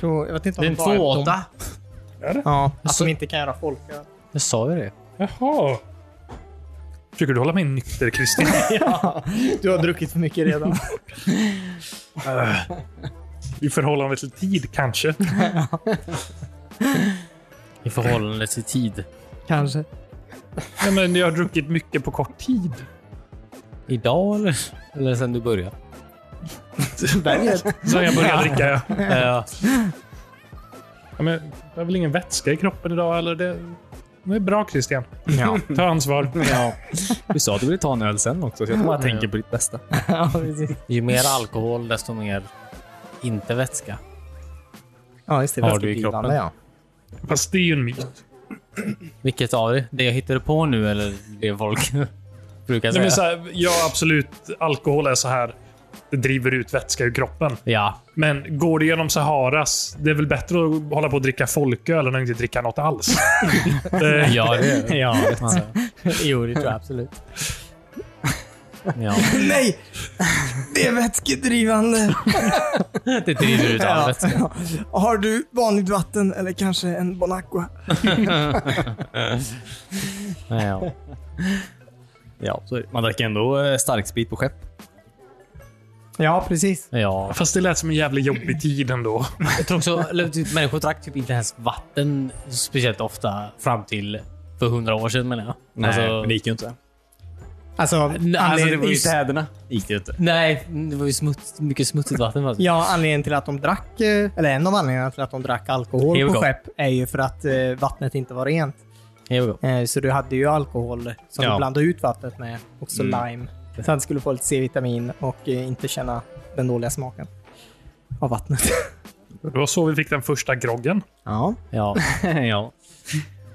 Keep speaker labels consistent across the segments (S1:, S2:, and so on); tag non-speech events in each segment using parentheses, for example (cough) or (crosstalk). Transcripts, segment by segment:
S1: tror, jag vet inte om
S2: Det är en
S1: bara de-
S2: tvååtta.
S1: Ja, att
S2: Alltså-
S1: de inte kan göra folköl.
S2: Jag sa ju det.
S3: Jaha. Försöker du hålla mig nykter, (laughs) Kristin?
S1: Du har druckit för mycket redan.
S3: I förhållande till tid, kanske?
S2: I förhållande till tid.
S1: (laughs) Kanske.
S3: Ja, men jag har druckit mycket på kort tid.
S2: Idag eller? Eller sen
S1: (laughs)
S2: du började?
S1: Berget.
S3: Så jag började dricka. ja.
S2: Eh,
S3: Ja, men jag har väl ingen vätska i kroppen idag, eller? Det, det är bra, Christian.
S2: ja.
S3: Ta ansvar.
S2: ja.
S4: Du sa att du ville ta en öl sen också, så jag bara tänker på ditt bästa.
S1: (laughs) ja, precis.
S2: Ju mer alkohol, desto mer inte vätska.
S1: Ja, just det.
S2: Har du i
S1: vätskebildande,
S2: kroppen?
S1: Ja.
S3: Fast det är ju en myt.
S2: Vilket av det? Det jag hittade på nu eller det folk (laughs) brukar
S3: Nej,
S2: säga?
S3: men så här, ja, absolut. Alkohol är så här. Det driver ut vätska ur kroppen.
S2: Ja,
S3: Men går det genom Saharas, det är väl bättre att hålla på och dricka folköl än att inte dricka något (laughs) alls? Eh, det,
S2: ja, det,
S4: (laughs) Ja,
S2: alltså,
S1: Jo, det tror jag absolut.
S2: ja.
S1: (laughs) Nej! Det är vätskedrivande.
S2: Det driver ut all vätska.
S1: Har du vanligt vatten eller kanske en Bonacqua?
S2: Ja.
S4: ja så är det. man drack ändå eh, starksprit på skepp.
S1: Ja, precis.
S2: ja.
S3: Fast det lät som en jävla jobbig tid ändå.
S2: Jag tror också, eller typ, människor drack typ inte ens vatten speciellt ofta fram till för hundra år sedan menar jag.
S4: Nej,
S2: Alltså,
S4: men det gick ju inte.
S1: Alltså,
S4: Alltså, det
S1: anledningen,
S4: var ju städerna. gick det ju inte.
S2: nej, det var ju smuts, mycket smutsigt vatten. faktiskt.
S1: ja, anledningen till att de drack, eh, eller en av anledningarna till att de drack
S2: Here
S1: alkohol
S2: we
S1: på
S2: go.
S1: skepp är ju för att eh, vattnet inte var rent.
S2: Here we go.
S1: Eh, Så du hade ju alkohol som
S4: Ja.
S1: du blandade ut vattnet med. Också
S4: Mm.
S1: lime. Så att du skulle få lite C-vitamin och eh, inte känna den dåliga smaken av vattnet.
S3: Det var så vi fick den första groggen.
S1: (laughs) Ja.
S2: Ja.
S4: (laughs) ja.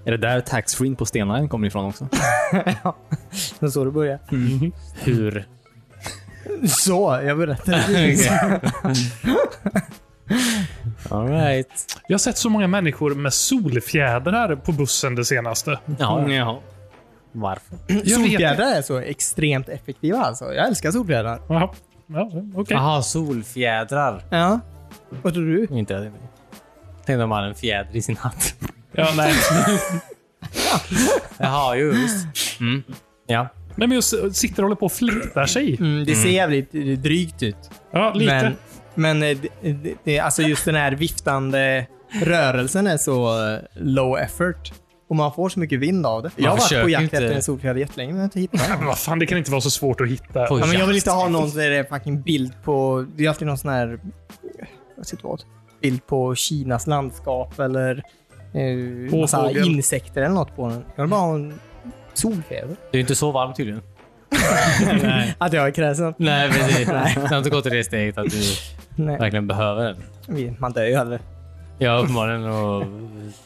S4: Är det där taxfree på Stenaren kommer ifrån också?
S1: Det var så det började.
S2: Hur?
S1: Så, jag (laughs) berättade.
S2: All
S1: (clears throat)
S2: right.
S3: Jag har sett så många människor med solfjädrar på bussen det senaste.
S2: Ja,
S4: Jaha.
S2: varför?
S3: Jag vet-
S1: solfjädrar är så extremt effektiva alltså. Jag älskar solfjädrar.
S3: Jaha. Ja, okej.
S2: Jaha, solfjädrar.
S1: Ja. Vad tror du?
S2: Inte jag tänkte. Tänkte om han hade en fjäder i sin hatt.
S3: Ja, nej.
S2: Jaha, jo visst. Mm. Ja.
S3: nej, men jag s- sitter och håller på och fläktar sig.
S1: Mm, det ser jävligt eh, drygt ut.
S3: Ja, lite.
S1: Men, men eh, det- det, det, alltså just den här viftande rörelsen är så eh, low effort. Och man får så mycket vind av det. jag har varit
S2: försöker
S1: på jakt
S2: inte-
S1: efter en solfjäder jättelänge men jag har inte hittat
S3: Men
S1: den.
S3: vad fan, det kan inte vara så svårt att hitta.
S2: På
S1: Ja, men jag vill
S2: jakt.
S1: inte ha någon där det är fucking bild på... Det är alltid någon sån här... Jag vet inte vad. Bild på Kinas landskap eller... Eh, massa
S3: Påfågel.
S1: insekter eller något på den. Jag vill bara ha en solfjäder.
S2: Det är ju inte så varmt
S4: (laughs)
S2: tydligen. Nej.
S1: Att jag är kräsen?
S2: Nej, precis. Det har inte gått till det steget att du
S1: Nej.
S2: verkligen behöver den.
S1: Vi- Man dör ju aldrig.
S2: Ja, uppenbarligen. Och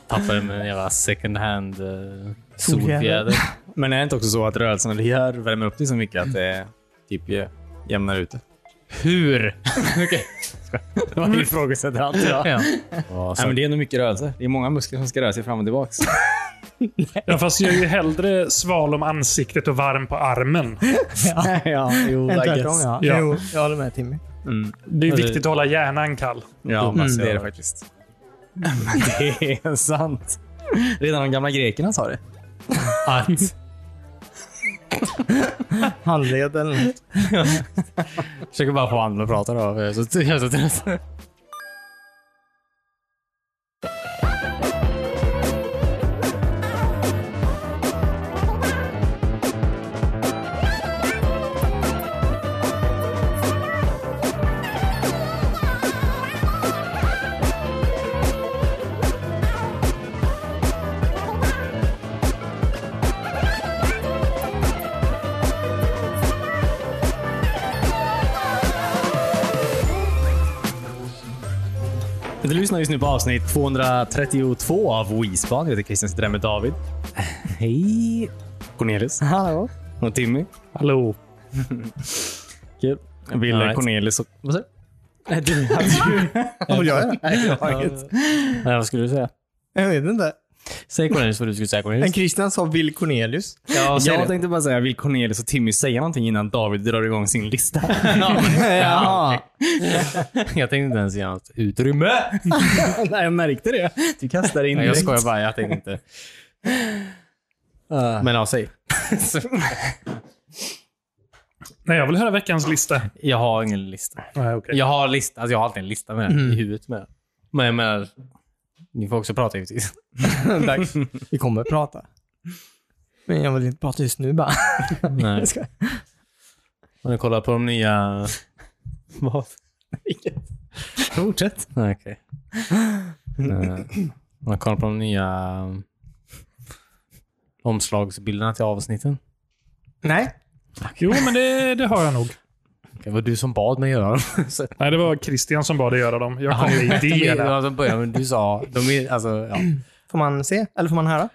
S2: tappade med en jävla second hand eh, solfjäder.
S4: Men är det inte också så att rörelserna vi gör värmer upp dig så mycket att det typ eh, jämnar ut det?
S2: Hur? (laughs)
S4: Det var ifrågasätter allt idag.
S2: Ja. Ja,
S4: Nej,
S2: så,
S4: men det är nog mycket rörelse. Det är många muskler som ska röra sig fram och tillbaks.
S3: Ja, fast jag är ju hellre sval om ansiktet och varm på armen.
S4: (laughs) ja, (laughs) jo,
S1: En
S4: I
S1: tvärtom
S4: guess.
S1: ja.
S3: Ja.
S1: Jo, jag håller med Timmy.
S4: Mm.
S3: Det är
S2: Ja, det-
S3: viktigt att hålla hjärnan kall.
S4: Ja,
S2: Mm.
S4: det är det faktiskt. (laughs) Men det är sant. Redan de gamla grekerna sa det.
S2: att
S1: Handled eller något.
S2: försöker bara få andra att prata då. för Jag är så, jag är så trött.
S4: Du lyssnar just nu på avsnitt 232 av Wispan. Jag heter Christian, sitter här med David. Hej! Cornelius.
S1: Hallå?
S4: Och Timmy.
S3: Hallå.
S4: Kul. Ville
S2: Alright.
S4: Cornelius och... Vad sa du?
S1: Vad vill jag göra? Nej, jag har
S2: Ja.
S4: (laughs)
S1: inget.
S2: Nej, Vad skulle du säga?
S1: Jag vet inte.
S2: Säg Cornelius vad du skulle säga
S1: Men
S2: Cornelius.
S1: Christian sa Bill Cornelius.
S4: Jag,
S1: säg det.
S4: tänkte bara säga, vill Cornelius och Timmy säga någonting innan David drar igång sin lista?
S2: (laughs)
S1: Jaha.
S2: Jag tänkte inte ens ge något utrymme.
S4: (laughs) Nej, jag märkte det. Du kastar in
S2: Nej, jag
S4: direkt.
S2: skojar bara. Jag tänkte inte. Men ja, säg.
S3: Nej, jag vill höra veckans lista.
S2: Jag har ingen lista.
S3: Nej, okej.
S2: Jag har lista. Alltså jag har alltid en lista med i huvudet med. Men jag menar, ni får också prata givetvis.
S1: Tack. Vi kommer att prata. Men jag vill inte prata just nu
S4: (laughs)
S1: bara.
S2: Nej.
S1: Jag skojar.
S2: Har ni kollat på de nya... Vad?
S1: Vilket?
S4: Fortsätt.
S2: Nej, okej. Eh, Har ni kollat på de nya um, omslagsbilderna till avsnitten?
S1: Nej.
S3: Jo, men det, det har jag nog.
S2: Okej, Det var du som bad mig göra dem. Så-
S3: Nej, det var Christian som bad dig göra dem. Jag kom med
S2: de är-
S3: idéerna.
S2: alltså, börja, men du sa... De är, alltså, ja.
S1: Får man se? Eller får man höra?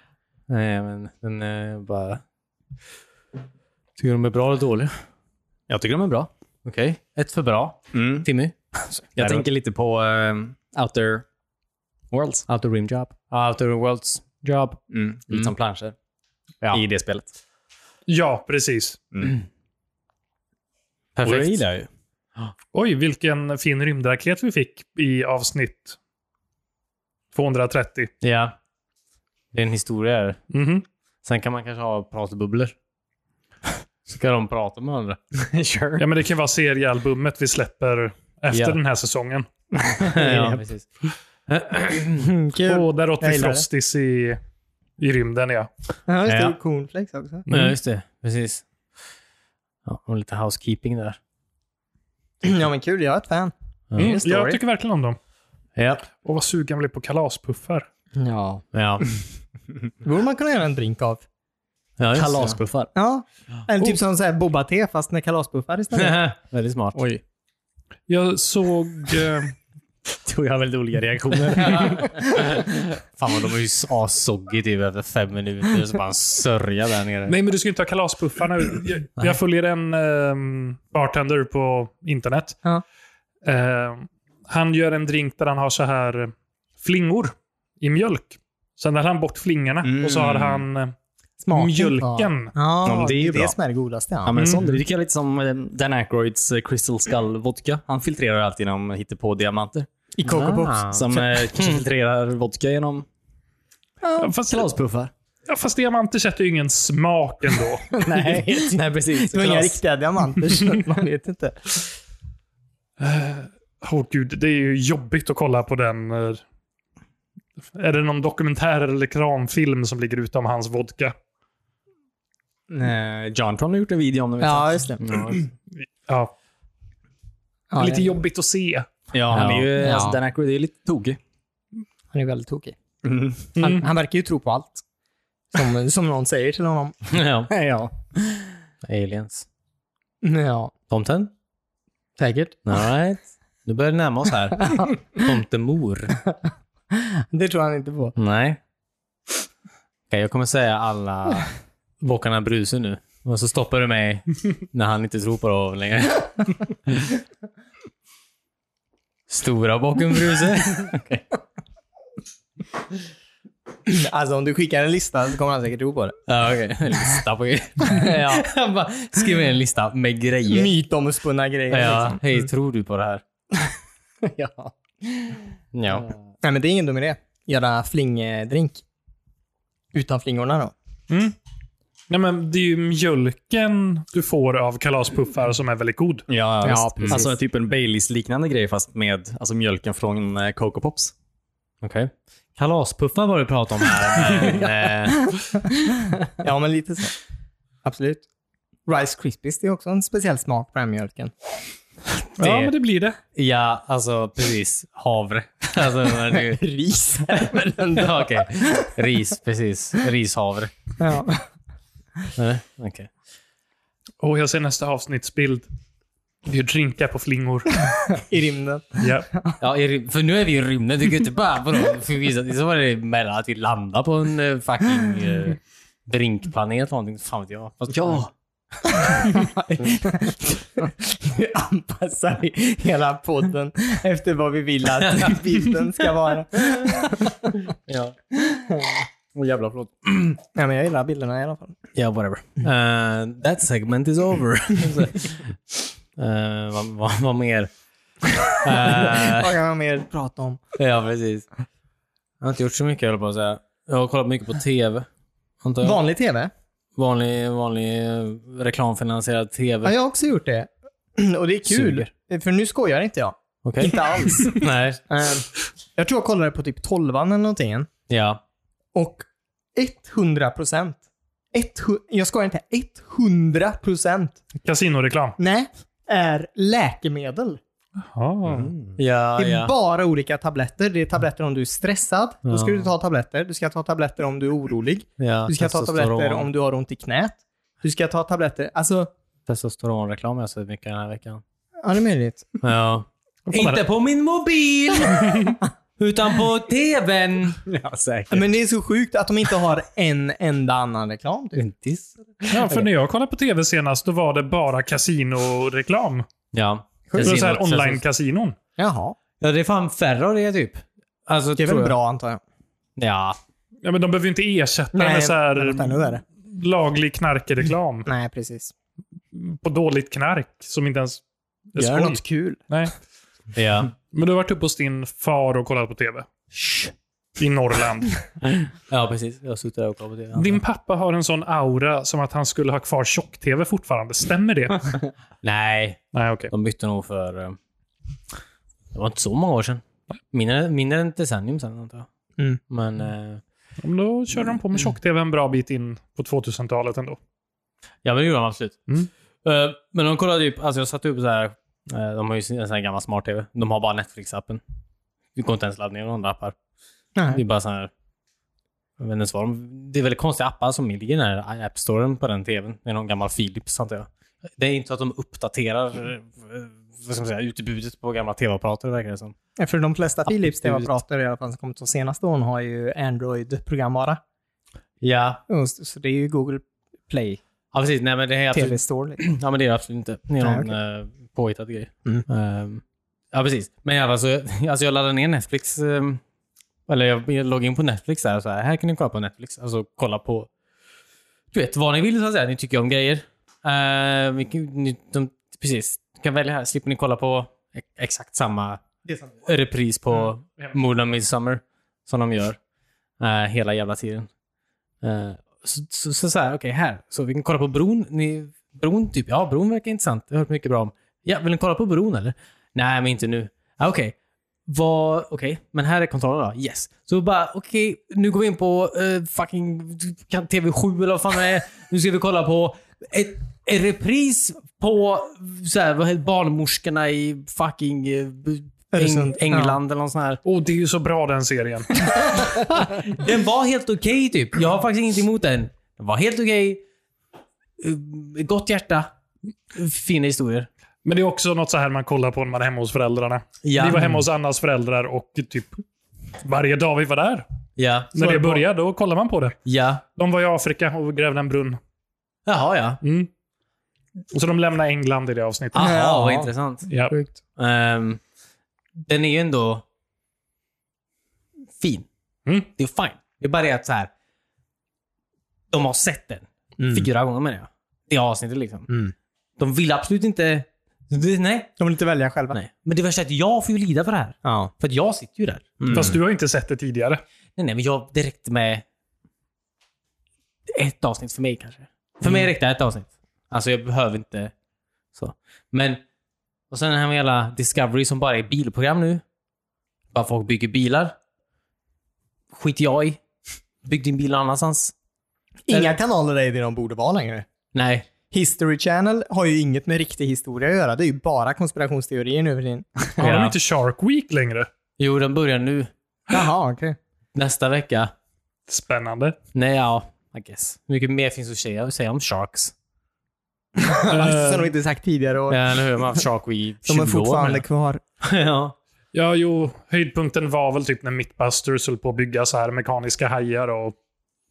S2: Nej, men den är bara... Tycker du de är bra eller dåliga?
S4: Jag tycker de är bra.
S2: Okej. Ett för bra.
S4: Mm.
S2: Timmy?
S4: Jag
S2: Nej, det var-
S4: tänker lite på eh, Outer Worlds.
S2: Outer Rim Job. Outer Worlds Job.
S4: Mm. Lite som planscher
S2: Ja.
S4: i det spelet.
S3: Ja, precis.
S4: Och det
S2: Perfekt.
S4: gillar jag ju.
S3: Oj, vilken fin rymdraket vi fick i avsnitt 230.
S2: Ja. Det är en historia. Här.
S3: Mhm.
S2: Sen kan man kanske ha pratbubblor. Så kan de prata med varandra.
S4: sure.
S3: Ja, men det kan vara seriealbumet vi släpper efter
S2: Ja.
S3: den här säsongen.
S2: ja, (clears throat) precis.
S1: Kul.
S3: Och där åt
S1: Jag
S3: vi
S1: gillar det.
S3: frostis i, i rymden, ja.
S1: Ja, just det.
S2: Ja.
S1: Cornflakes också. (clears throat)
S2: Ja, just det. Precis. Mm. Ja, och lite housekeeping där.
S1: Ja, men kul. Jag är ett fan.
S3: Mm,
S1: story.
S3: jag tycker verkligen om dem.
S2: Ja.
S3: Och vad sugen jag blev på kalaspuffar.
S1: Ja.
S2: Ja.
S1: Det borde man kunna göra en drink av.
S2: ja just det. (laughs)
S4: Kalaspuffar.
S1: Ja. Eller
S4: Oh.
S1: typ som så här boba-te fast med kalaspuffar
S4: (laughs)
S1: istället.
S2: Väldigt smart.
S4: Oj.
S3: Jag såg... Eh,
S4: Tror jag har väldigt
S2: (laughs)
S4: olika reaktioner.
S2: Fan vad de är ju assoggy typ efter fem minuter. Så bara en sörja där nere.
S3: nej, men du ska inte ha kalaspuffar nu. Jag, jag följer en eh, bartender på internet.
S1: Ja.
S3: Eh, han gör en drink där han har så här eh, flingor i mjölk. Sen har han bort flingorna
S4: Mm.
S3: och så har han eh,
S1: Smaken.
S3: mjölken.
S1: Ja,
S4: Ja, men
S1: det är ju det
S4: bra.
S1: som är det godaste.
S4: Ja,
S1: Ja.
S2: Mm.
S4: men sån dricker jag lite som eh, Dan Aykroyds eh, Crystal Skull Vodka. Han filtrerar alltid genom hittepå-diamanter.
S1: I Coco Pops.
S2: Ah.
S4: Som eh,
S2: (laughs)
S4: kanske filtrerar vodka genom
S3: Ja, fast,
S4: kalaspuffar.
S3: ja, fast diamanter sätter ju ingen smak ändå. (laughs)
S4: Nej,
S2: (laughs)
S4: nej precis.
S1: Det var inga
S4: Kalas-
S1: riktiga diamanter, så (laughs) man vet inte.
S3: Åh gud, det är ju jobbigt att kolla på den. eh, Är det någon dokumentär eller reklamfilm som ligger utom hans vodka?
S4: Eh, Johntron har gjort en video om det. vet
S1: Ja, just det.
S2: Ja.
S3: Ja,
S1: Ja,
S3: lite
S1: det-
S3: jobbigt att se.
S4: jag. ja, han är ju...
S1: Ja.
S4: Alltså, Dan Aykroyd är lite tokig.
S1: Han är väldigt tokig.
S4: Mm.
S1: Han,
S3: Mm.
S1: han verkar ju tro på allt. Som, som någon säger till honom.
S2: ja.
S1: (laughs) Ja.
S2: Aliens.
S1: Ja,
S2: Tomten?
S1: säkert.
S2: Nej. Nu börjar det närma oss
S4: (laughs)
S2: här. Tomtemor.
S1: Det tror han inte på.
S2: Nej. Okej, jag kommer säga alla Bockarna Bruse nu. Och så stoppar du mig när han inte tror på det längre. Stora Bocken Bruse.
S1: Alltså om du skickar en lista så kommer han säkert tro på det.
S2: Ja, okej. Lista på
S4: (laughs)
S2: grejer. ja. Han bara skriver en lista med grejer.
S1: Mytomspunna grejer.
S2: Ja.
S1: Liksom. (laughs)
S2: Hej, tror du på det här?
S1: ja.
S2: Ja.
S1: Nej, men det är ingen dum idé. Göra flingdrink. Utan flingorna då.
S3: Nej, men det är ju mjölken du får av kalaspuffar som är väldigt god.
S4: Ja,
S1: Ja,
S4: visst.
S1: precis.
S4: Alltså typ en Baileys-liknande grej fast med alltså, mjölken från eh, Coco Pops.
S2: Okej. Kalaspuffar var det prat om här. Men, eh,
S1: Ja, men lite så. Absolut. Rice Krispies, det är också en speciell smak på den här mjölken.
S3: Ja, men det blir det.
S2: ja, alltså precis. Havre. (laughs) Alltså, när
S4: (laughs)
S2: du, (laughs)
S1: Ris.
S2: Ja, Okej. Ris, precis. Rishavre.
S1: ja.
S2: Eller? Okej.
S3: Och jag ser nästa avsnittsbild. Det är ju drinkar på flingor.
S1: I rymden.
S3: ja.
S2: Ja, i ry- för nu är vi i rymden. Du kan ju inte bara vadå, förvisa dig. Så var det mellan att vi landar på en eh, fucking eh, drinkplanet någonting. Fan vet jag. Fast, (laughs)
S4: Ja. (laughs)
S1: Vi anpassar hela podden (laughs) efter vad vi vill att bilden ska vara.
S2: ja. Åh jävlar, förlåt.
S1: Nej, men jag gillar bilderna i alla fall.
S2: Yeah, whatever.
S1: Mm.
S2: Uh, that segment
S1: (laughs)
S2: is over. Eh, vad, vad, vad mer? Eh,
S1: Vad kan man mer prata om?
S2: ja, precis. Jag har inte gjort så mycket, jag på att säga. Jag har kollat mycket på TV. Antar jag.
S1: Vanlig TV?
S2: Vanlig, vanlig eh, reklamfinansierad TV.
S1: Ja, jag har också gjort det. Och det är kul. För nu skojar inte jag.
S2: Okej.
S1: Inte alls.
S2: (laughs) Nej.
S1: Eh, jag tror jag kollade på typ 12 eller någonting.
S2: Ja.
S1: Och 100 procent. Jag skojar inte. 100 procent.
S3: Kasinoreklam.
S1: Nej. Är läkemedel.
S3: Ah.
S2: Ja,
S1: Det är
S2: ja.
S1: bara olika tabletter. Det är tabletter om du är stressad. Då ska
S2: Ja.
S1: du ta tabletter. Du ska ta tabletter om du är orolig.
S2: ja.
S1: Du ska ta tabletter
S2: testosteron-
S1: om du har ont i knät. Du ska ta tabletter. Alltså,
S2: Testosteronreklam har jag sett mycket den här
S1: Mm.
S2: veckan.
S1: ja det är möjligt.
S2: Ja. Inte på min mobil! utan på TVn!
S4: Ja, säkert.
S1: Men det är så sjukt att de inte har en enda annan reklam. Typ.
S2: Intis.
S3: Ja, för när jag kollade på tv senast, då var det bara kasinoreklam.
S2: Ja.
S3: Det var så här
S2: Casino-
S3: online-kasinon.
S1: Jaha.
S2: Ja, det är fan färre av det typ. Alltså,
S1: Det är
S2: tror
S1: väl
S2: jag.
S1: bra antar jag.
S2: Ja.
S3: Ja, men de behöver ju inte ersätta med så
S1: men något ännu
S3: här
S1: värre.
S3: laglig knarkreklam
S1: Nej, precis.
S3: på dåligt knark som inte ens är
S1: Gör
S3: skoj.
S1: något kul.
S3: Nej.
S2: Ja.
S3: Men du har varit uppe hos din far och kollat på tv. I Norrland.
S2: Ja, precis. Jag har suttit där och kollat på TV.
S3: Din pappa har en sån aura som att han skulle ha kvar tjock-tv fortfarande.
S2: (laughs)
S3: Stämmer det?
S2: Nej,
S3: Nej, okej.
S2: de bytte nog för... eh, Det var inte så många år sedan. Mindre, mindre än ett decennium sedan, antar jag.
S1: Mm.
S2: Men eh,
S3: Ja, men Då körde de på med tjock-tv en bra bit in på 2000-talet ändå.
S2: Ja, men det gjorde de absolut.
S3: Mm.
S2: Eh, men de kollade ju... Alltså jag satte upp så här... eh, de har ju en sån här gammal smart-tv. De har bara Netflix-appen. Det går inte ens att ladda ner några andra appar. Det är
S1: Nej.
S2: bara så här... Jag vet inte ens vad de... Det är väldigt konstiga appar som ligger i den här app-storen på den tvn. Det är någon gammal Philips, antar jag. Det är inte så att de uppdaterar eh, vad ska man säga, utbudet på gamla tv-apparater, verkar det som.
S1: För de flesta Philips
S2: Absolut.
S1: TV-apparater i alla fall som kommit de senaste åren har ju Android-programvara.
S2: Ja.
S1: Och s- Så det är ju Google Play
S2: Ja, precis. Nej, men det är absolut
S1: TV Store. liksom.
S2: Ja, men det är det absolut inte. Det är
S1: Nej,
S2: någon eh, påhittad grej.
S1: Mm.
S2: Ehm, ja, precis. Men i alla fall så- (laughs) alltså jag laddade ner Netflix. ehm, eller jag, jag loggade in på Netflix där och så här, här kan ni kolla på Netflix. Alltså kolla på, du vet, vad ni vill så att säga. Ni tycker om grejer. Ehm, vi kan- ni, de, precis, ni kan välja här. Slipper ni kolla på e- exakt samma repris på Mord om Midsummer som de gör eh, hela jävla tiden. Eh, så, så, så, så här, okej, här. Så vi kan kolla på bron. Ni, bron, typ. Ja, bron verkar intressant. Jag har hört mycket bra om. Ja, vill ni kolla på bron eller? Nej, men inte nu. Ah, okej. Vad, okej, men här är kontrollen då. Yes. Så bara, okej, nu går vi in på eh, fucking kan- TV7 eller vad fan det är. Nu ska vi kolla på ett, en repris på så här, vad heter barnmorskorna i fucking eh, Eng,
S1: Öresund.
S2: England eller någon sån här.
S3: Åh, det är ju så bra
S2: (laughs)
S3: den serien.
S2: Den var helt okej typ. Jag har faktiskt ingenting emot den. Den var helt okej. Eh, Gott hjärta. Fina historier.
S3: Men det är också något så här man kollar på när man är hemma hos föräldrarna.
S2: Ja. Mm.
S3: Vi var hemma hos Annas föräldrar och typ varje dag vi var där.
S2: Ja.
S3: när det började, då kollar man på det.
S2: Ja.
S3: De var i Afrika och grävde en brunn.
S2: Jaha ja.
S3: Mm. Och så de lämnade England i det avsnittet.
S2: Aha,
S1: Ja.
S2: vad intressant.
S3: Ja.
S2: Ehm, den är ju ändå fin.
S3: Mm.
S2: Det är fine. Det är bara det att så här. De har sett den. Fyra gånger menar jag. Det avsnittet liksom.
S1: Mm.
S2: De vill absolut inte... Det, nej.
S1: De vill inte välja själva.
S2: nej. Men det värsta är att jag får ju lida för det här.
S1: Ja.
S2: För att jag sitter ju där.
S3: Fast du har inte sett det tidigare.
S2: Nej, nej, men jag, det räckte med ett avsnitt för mig kanske. För mig räckte ett avsnitt. Alltså jag behöver inte så. Men, och sen den här med hela Discovery som bara är bilprogram nu. Bara folk bygger bilar. Skit jag i. Bygg din bil någon annanstans.
S1: Inga kanaler är det de borde vara längre.
S2: Nej.
S1: History Channel har ju inget med riktig historia att göra. Det är ju bara konspirationsteorier nu för tiden.
S3: Har de
S2: Ja.
S3: inte Shark Week längre?
S2: Jo, den börjar nu.
S1: (laughs) Jaha, okej.
S2: Nästa vecka.
S3: Spännande.
S2: Nej, ja. I guess. Hur mycket mer finns att säga, att säga om Sharks?
S1: Som
S3: Eh,
S1: de inte sagt tidigare och
S2: Ja, nu har man haft Shark i 20
S1: de är
S2: år.
S1: fortfarande
S2: menar
S1: kvar.
S2: jag. (laughs) ja.
S3: ja, jo. Höjdpunkten var väl typ när Mythbusters höll på att bygga så här mekaniska hajar och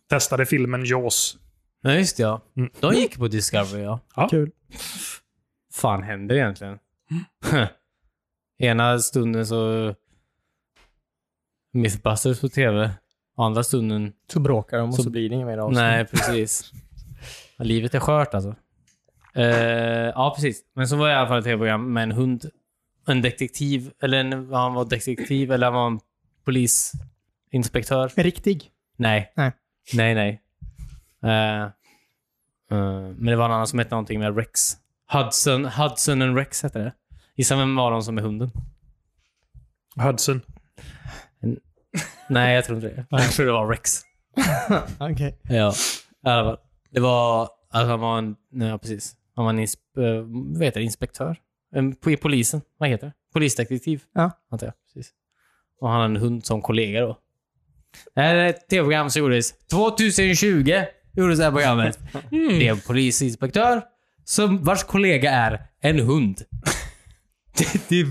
S3: testade filmen Jaws.
S2: ja, just det, ja.
S3: Mm.
S2: De gick på Discovery, ja.
S1: Kul.
S2: fan händer egentligen? Mm. (laughs) Ena stunden så Mythbusters på tv. Å andra stunden,
S1: Så bråkar de och så,
S2: Så-
S1: blir det inget mer avsnitt.
S2: nej precis. Ja, (laughs) Livet är skört alltså. Eh, ja, precis. Men så var jag i alla fall ett tv-program med en hund. En detektiv, eller en, han var detektiv, eller han var en polisinspektör.
S1: Riktig.
S2: Nej.
S1: Nej.
S2: Nej, nej. Eh, eh, men det var en annan som hette någonting med Rex. Hudson, Hudson and Rex hette det. Gissa vem var de som är hunden?
S3: Hudson.
S2: Nej, jag tror inte det. Jag tror det var Rex.
S1: Okej.
S2: Ja, i alla fall. Det var... Alltså han var en... nej, Ja, precis. Han var en insp- eh, vad heter det? inspektör. En, i polisen. Vad heter det? Polisdetektiv.
S1: Ja.
S2: Antar jag. Precis. Och han hade en hund som kollega då. Det här är ett tv-program som gjordes 2020. Gjordes det här programmet. Mm. Det är en polisinspektör som, vars kollega är en hund. (laughs) Det, det,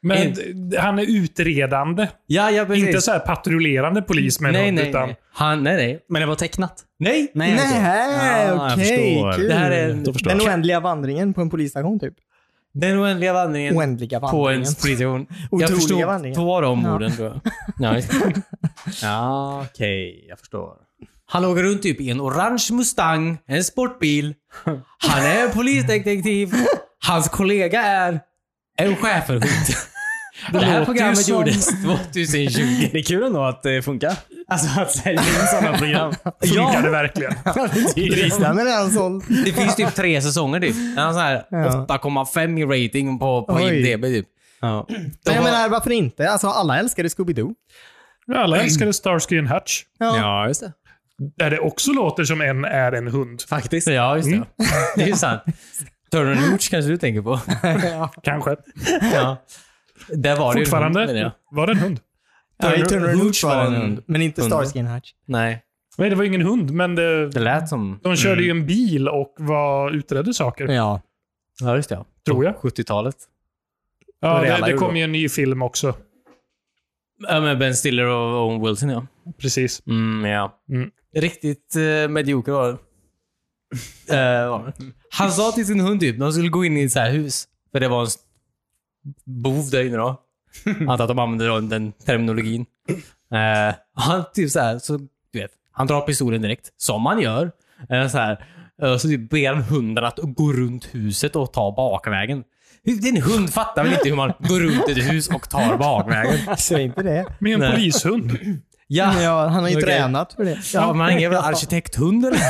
S3: Men
S2: Mm.
S3: d- han är utredande.
S2: ja, ja, precis.
S3: Inte så här patrullerande polis med en
S2: nej,
S3: hund,
S2: nej,
S3: utan
S2: nej. Han, nej, nej.
S4: Men det var tecknat?
S2: Nej!
S4: Nej,
S1: Nej,
S4: Ah, jag
S1: okej.
S4: förstår.
S1: kul.
S2: Det här är en-
S4: (laughs) Då förstår
S1: Den
S4: jag.
S1: oändliga vandringen på en polisstation, typ.
S2: Den oändliga vandringen.
S1: Oändliga
S2: på
S1: vandringen.
S2: en spritstation. Jag
S1: Otroliga
S2: förstod
S1: vandringen.
S2: två av de
S1: Ja.
S2: orden tror jag. Ja, visst.
S4: Ja, okej. Jag förstår.
S2: Han åker runt typ i en orange Mustang, en sportbil. Han är en polisdetektiv. Hans kollega är en schäferhund. Det,
S3: låter
S2: här
S3: ju
S2: programmet
S3: som-
S2: gjordes 2020.
S4: Det är kul ändå att det funkar. Alltså att sälja in
S2: (laughs)
S4: sådana program.
S3: funkar det verkligen?
S1: Listan är alltså? redan (laughs) såld.
S2: Det finns typ tre säsonger typ. Den har så här
S1: Ja.
S2: 8,5 i rating på, på
S1: Oj.
S2: IMDB typ.
S4: Ja.
S1: Men jag
S2: var-
S1: menar, varför inte? Alltså, alla älskade Scooby-Doo.
S3: Alla älskade Starsky and Hutch.
S1: Ja.
S4: ja, just det.
S3: Där det också låter som en är en hund.
S4: Faktiskt.
S2: Ja, just det. Det är ju sant. Turner and Hooch kanske du tänker på.
S3: Kanske.
S2: Ja. Där var det ju en hund, menar jag.
S3: Fortfarande. Var det en hund?
S1: Ja, i Turner and Hooch var
S2: var
S1: en
S2: en-
S1: hund, men inte
S2: hund.
S1: Starsky and (laughs) Hutch.
S2: Nej.
S3: Nej, det var ingen hund, men det,
S2: Det lät som...
S3: de körde ju en bil och var utredde saker.
S1: Ja.
S2: Ja, just det. ja.
S3: Tror jag.
S2: 70-talet.
S3: Ja,
S2: var det
S3: det,
S2: alla
S3: det
S2: gjorde
S3: kom
S2: då.
S3: ju en ny film också.
S2: Ja, men Ben Stiller och Owen Wilson, ja.
S3: Precis.
S2: Mm, ja.
S3: Mm.
S2: Riktigt eh, medioker var (laughs) det. Eh, var det. Han sa till sin hund typ, de skulle gå in i ett så här hus. För det var en s- bov där inne (laughs) då. Antar att de använde då den terminologin. Eh, han typ så här, så, du vet, han drar pistolen direkt. Som man gör. Eh, så här, eh, så typ ber han hunden att gå runt huset och ta bakvägen. Hur- Din hund fattar väl inte hur man går runt ett hus och tar (laughs) bakvägen?
S1: Säg inte det.
S3: Med en
S2: Nej.
S3: polishund.
S1: Men ja, han har ju
S2: Okej.
S1: tränat för det.
S2: Ja, men han är ingen jävla arkitekthund eller?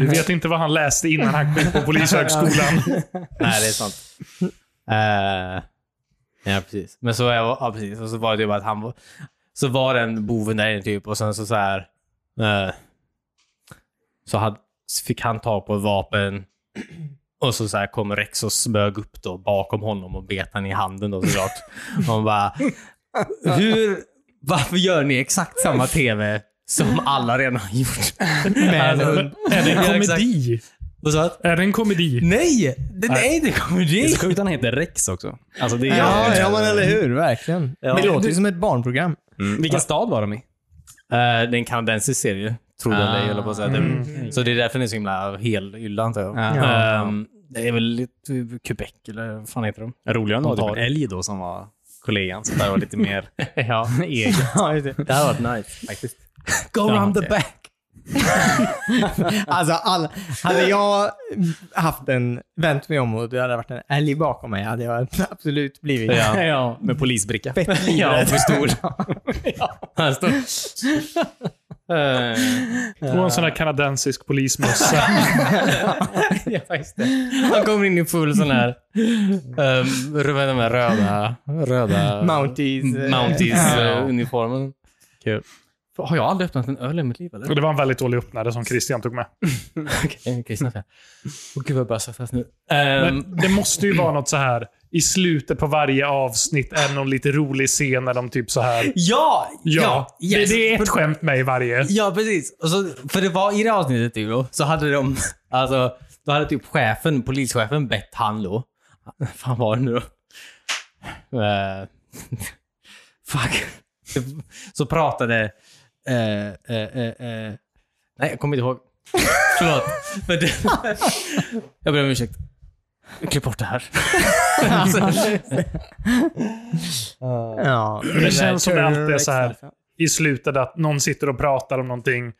S3: Du vet inte vad han läste innan han kom
S2: (laughs)
S3: på polishögskolan.
S2: Nej, det är sant. Eh, ja, precis. Men så, var jag, ja, precis. Och så var det ju bara att han var... Så var den boven där inne typ och sen så så här... eh, så hade, fick han tag på ett vapen. Och så, så här kom Rex och smög upp då bakom honom och bet han i handen då såklart. Och man bara... Hur... Varför gör ni exakt samma TV som alla redan har gjort?
S3: Är
S2: Alltså,
S3: det en
S2: ja, exakt.
S3: komedi?
S2: Vad sa du?
S3: Är det en komedi?
S2: Nej! Det, nej, det kommer
S4: Det är
S2: dit.
S4: så sjukt att han heter Rex också. Alltså, det är,
S1: Ja, ja, men eller hur? Verkligen.
S2: Ja.
S1: Det låter ju som ett barnprogram.
S4: Mm. Vilken stad var de i?
S2: Eh, det är en kanadensisk serie, tror jag
S4: Ah. Mm.
S2: det höll på att säga.
S3: Mm.
S2: Det, så det är därför den är så himla helylla, antar jag.
S4: Ja.
S2: Ehm, det är väl lite Quebec, eller vad fan heter de?
S4: Roligare än
S2: De
S4: då,
S2: tar-
S4: typ en älg då som var kollegan. Så där var lite mer
S2: (laughs) ja.
S4: eget.
S1: (laughs) Ja, just det.
S2: Det här var nice, faktiskt. Go
S4: Ja,
S2: round the
S4: det-
S2: back!
S1: (laughs) Alltså, all, hade jag haft en, vänt mig om och det hade varit en älg bakom mig, hade jag absolut blivit
S2: (laughs) Ja.
S4: ja, med polisbricka.
S1: fett
S2: Ja,
S1: livrädd.
S2: för stor. (laughs) Han står... Eh,
S3: Och en sån här kanadensisk polismössa.
S2: (laughs) ja, just det. Han kommer in i full sån här... Um, de här röda... röda
S1: (laughs) Mounties. eh, ja.
S2: Mounties-uniformen.
S4: Kul.
S2: Har jag aldrig öppnat en öl i mitt liv eller?
S3: Och det var en väldigt dålig öppnare som Christian tog med.
S2: Okej, okay, snart. Åh gud vad jag börjar svettas nu. Ehm,
S3: Men det måste ju vara något så här. I slutet på varje avsnitt är det någon lite rolig scen när de typ så här.
S2: ja!
S3: Ja,
S2: Ja! Yes.
S3: det, det är ett skämt med i varje.
S2: Ja, precis. Och så, för det var i det avsnittet ju då, så hade de, alltså, då hade typ chefen, polischefen bett han (laughs) då. Fan var det nu då? Eh, (laughs) fuck. Så pratade, eh, eh, eh, eh,
S4: (laughs)
S2: nej jag kommer inte ihåg. Förlåt. Men det, jag ber om ursäkt. Klipp bort det här.
S1: Ja.
S3: Men det känns som det alltid är så här i slutet att någon sitter och pratar om någonting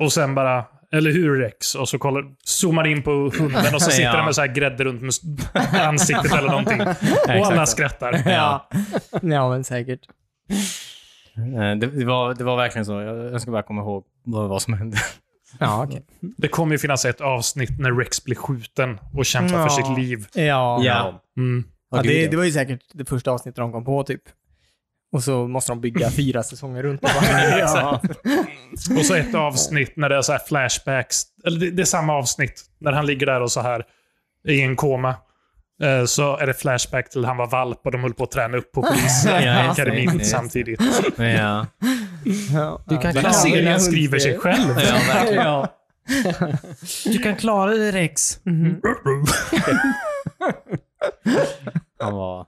S3: och sen bara, eller hur Rex? Och så kollar, zoomar in på hunden och så sitter
S2: Ja.
S3: den med så här grädde runt med s- (laughs) ansiktet eller någonting. Och alla
S2: exakt.
S3: skrattar.
S1: Ja. (laughs) ja, men säkert.
S2: Eh, Det, det, var, det var verkligen så. Jag jag ska bara komma ihåg vad, vad som hände.
S1: Ja, okej.
S3: Det kommer ju finnas ett avsnitt när Rex blir skjuten och kämpar för
S1: Ja.
S3: sitt liv.
S1: Ja.
S3: Mm.
S1: Ja,
S2: gud,
S1: det,
S2: ja.
S1: det var ju säkert det första avsnittet de kom på, typ. Och så måste de bygga fyra säsonger runt det. bara. (laughs) ja.
S3: Och så ett avsnitt när det är så här flashbacks. Eller det, det är samma avsnitt. När han ligger där och så här i en koma. Eh, Så är det flashback till han var valp och de höll på att träna upp på
S2: (laughs) Ja,
S3: polisakademin
S2: just det, just det.
S3: samtidigt.
S2: Ja.
S1: Ja.
S2: Du kan
S1: Ja,
S2: klara
S3: Den serien
S1: det.
S3: skriver sig själv.
S2: Ja,
S4: (laughs)
S2: verkligen.
S1: Ja.
S2: Du kan klara dig Rex. Mhm. (laughs) Han var...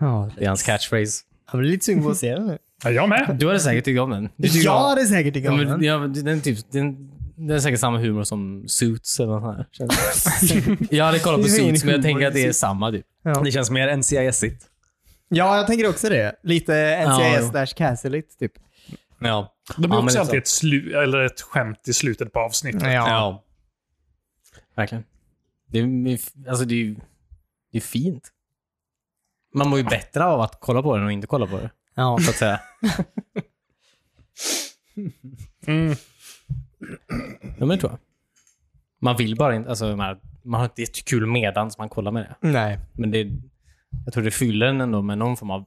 S1: Ja,
S2: Det är hans catchphrase.
S1: jag blir lite sugen på att se den nu.
S3: Ja, jag med.
S2: Du hade säkert tyckt om den. Du tycker om-
S1: Ja, det är säkert tycker
S2: Ja,
S1: jag.
S2: men,
S1: men-
S2: ja, men den, typ, den, den är säkert samma humor som Suits eller nåt här. känns det. jag (laughs) hade kollat på
S1: Det är ingen
S2: Suits, men jag
S1: humor
S2: tänker att det är
S1: i
S2: samma typ.
S1: Ja.
S4: Det känns mer NCIS-igt.
S1: ja, jag tänker också det. Lite
S2: Ja,
S1: NCIS
S2: jo.
S1: slash Castle it, typ.
S4: Ja.
S3: Det blir
S2: Ja, men
S3: också
S2: det är
S3: alltid ett, slu- eller ett skämt i slutet på avsnittet.
S4: ja.
S2: Verkligen. Det är, alltså, det är, ju- det är fint. Man mår ju bättre av att kolla på den och inte kolla på det.
S1: Ja.
S2: Så att säga.
S3: Mm.
S2: Ja, men det tror jag. Man vill bara inte... Alltså, man, man har inte jättekul medan man kollar med det.
S1: Nej.
S2: Men det, jag tror det fyller en ändå med någon form av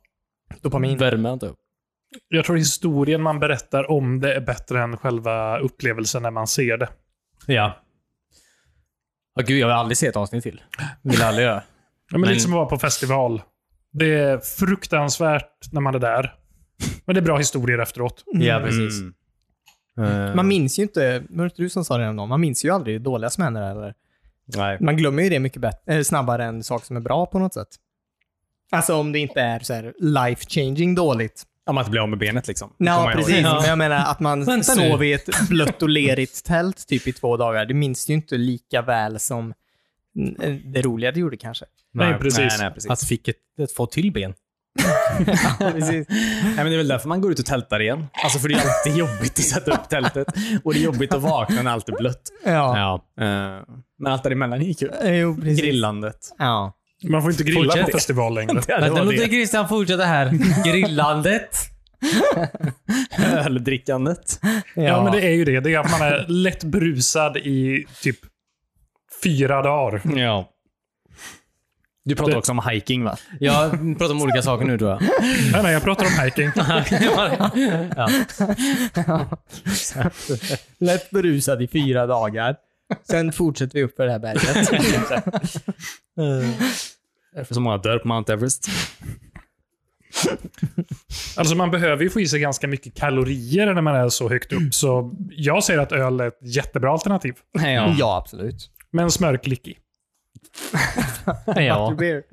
S1: Dopamin.
S2: värme. antar jag.
S3: Jag tror historien man berättar om det är bättre än själva upplevelsen när man ser det.
S2: Ja. Ja, gud, jag vill aldrig se ett avsnitt till. Vill aldrig göra.
S3: Ja, men
S2: Men-
S3: Lite som att vara på festival. Det är fruktansvärt när man är där. Men det är bra historier efteråt.
S2: Mm. Ja,
S4: Precis.
S2: Mm.
S4: Eh,
S1: Man minns ju inte, var det inte du som sa det häromdagen? man minns ju aldrig det dåliga som händer eller?
S4: Nej.
S1: Man glömmer ju det mycket bättre, eh, snabbare än saker som är bra på något sätt. Alltså om det inte är så här life changing dåligt.
S4: Om att bli av med benet liksom. Kommer
S1: Ja,
S4: jag ihåg.
S1: precis.
S2: Ja.
S1: Men jag menar att man
S2: (laughs) Vänta
S1: sov
S2: nu.
S1: i ett blött och lerigt tält typ i två dagar. Det minns du ju inte lika väl som eh, det roliga det gjorde kanske.
S3: Nej, precis.
S4: Nej, nej, precis.
S2: Att fick ett, ett få till ben.
S1: Precis.
S4: Nej, men det är väl därför man går ut och tältar igen. Alltså för det är
S2: (laughs)
S4: alltid jobbigt att sätta upp tältet. Och det är jobbigt att vakna när allt är blött.
S1: Ja.
S2: Ja.
S4: Eh, Men allt däremellan gick ju.
S1: Eh, Jo, precis.
S4: Grillandet.
S1: Ja.
S3: Man får inte grilla
S2: Fortsätt.
S3: på festival längre.
S4: Ja, det
S2: Vänta,
S4: var
S2: låt
S4: det.
S2: Christian fortsätta
S1: (laughs)
S2: här. Grillandet.
S4: Öldrickandet.
S1: Ja,
S3: Ja, men det är ju det. Det är att man är lätt brusad i typ fyra dagar.
S4: Ja. Du pratar
S3: Det-
S4: också om hiking va?
S2: Jag pratar om olika saker nu tror jag.
S3: Nej, nej, jag pratar om hiking.
S2: (laughs) ja.
S1: Lätt berusad i fyra dagar. Sen fortsätter vi upp för det här berget.
S4: Därför så många dör på Mount Everest.
S3: Alltså man behöver ju få i sig ganska mycket kalorier när man är så högt upp. Så jag säger att öl är ett jättebra alternativ.
S4: Ja.
S1: (laughs) ja, absolut.
S3: Men smörklick i.
S1: After
S2: ja. Mm-hmm.
S1: beer.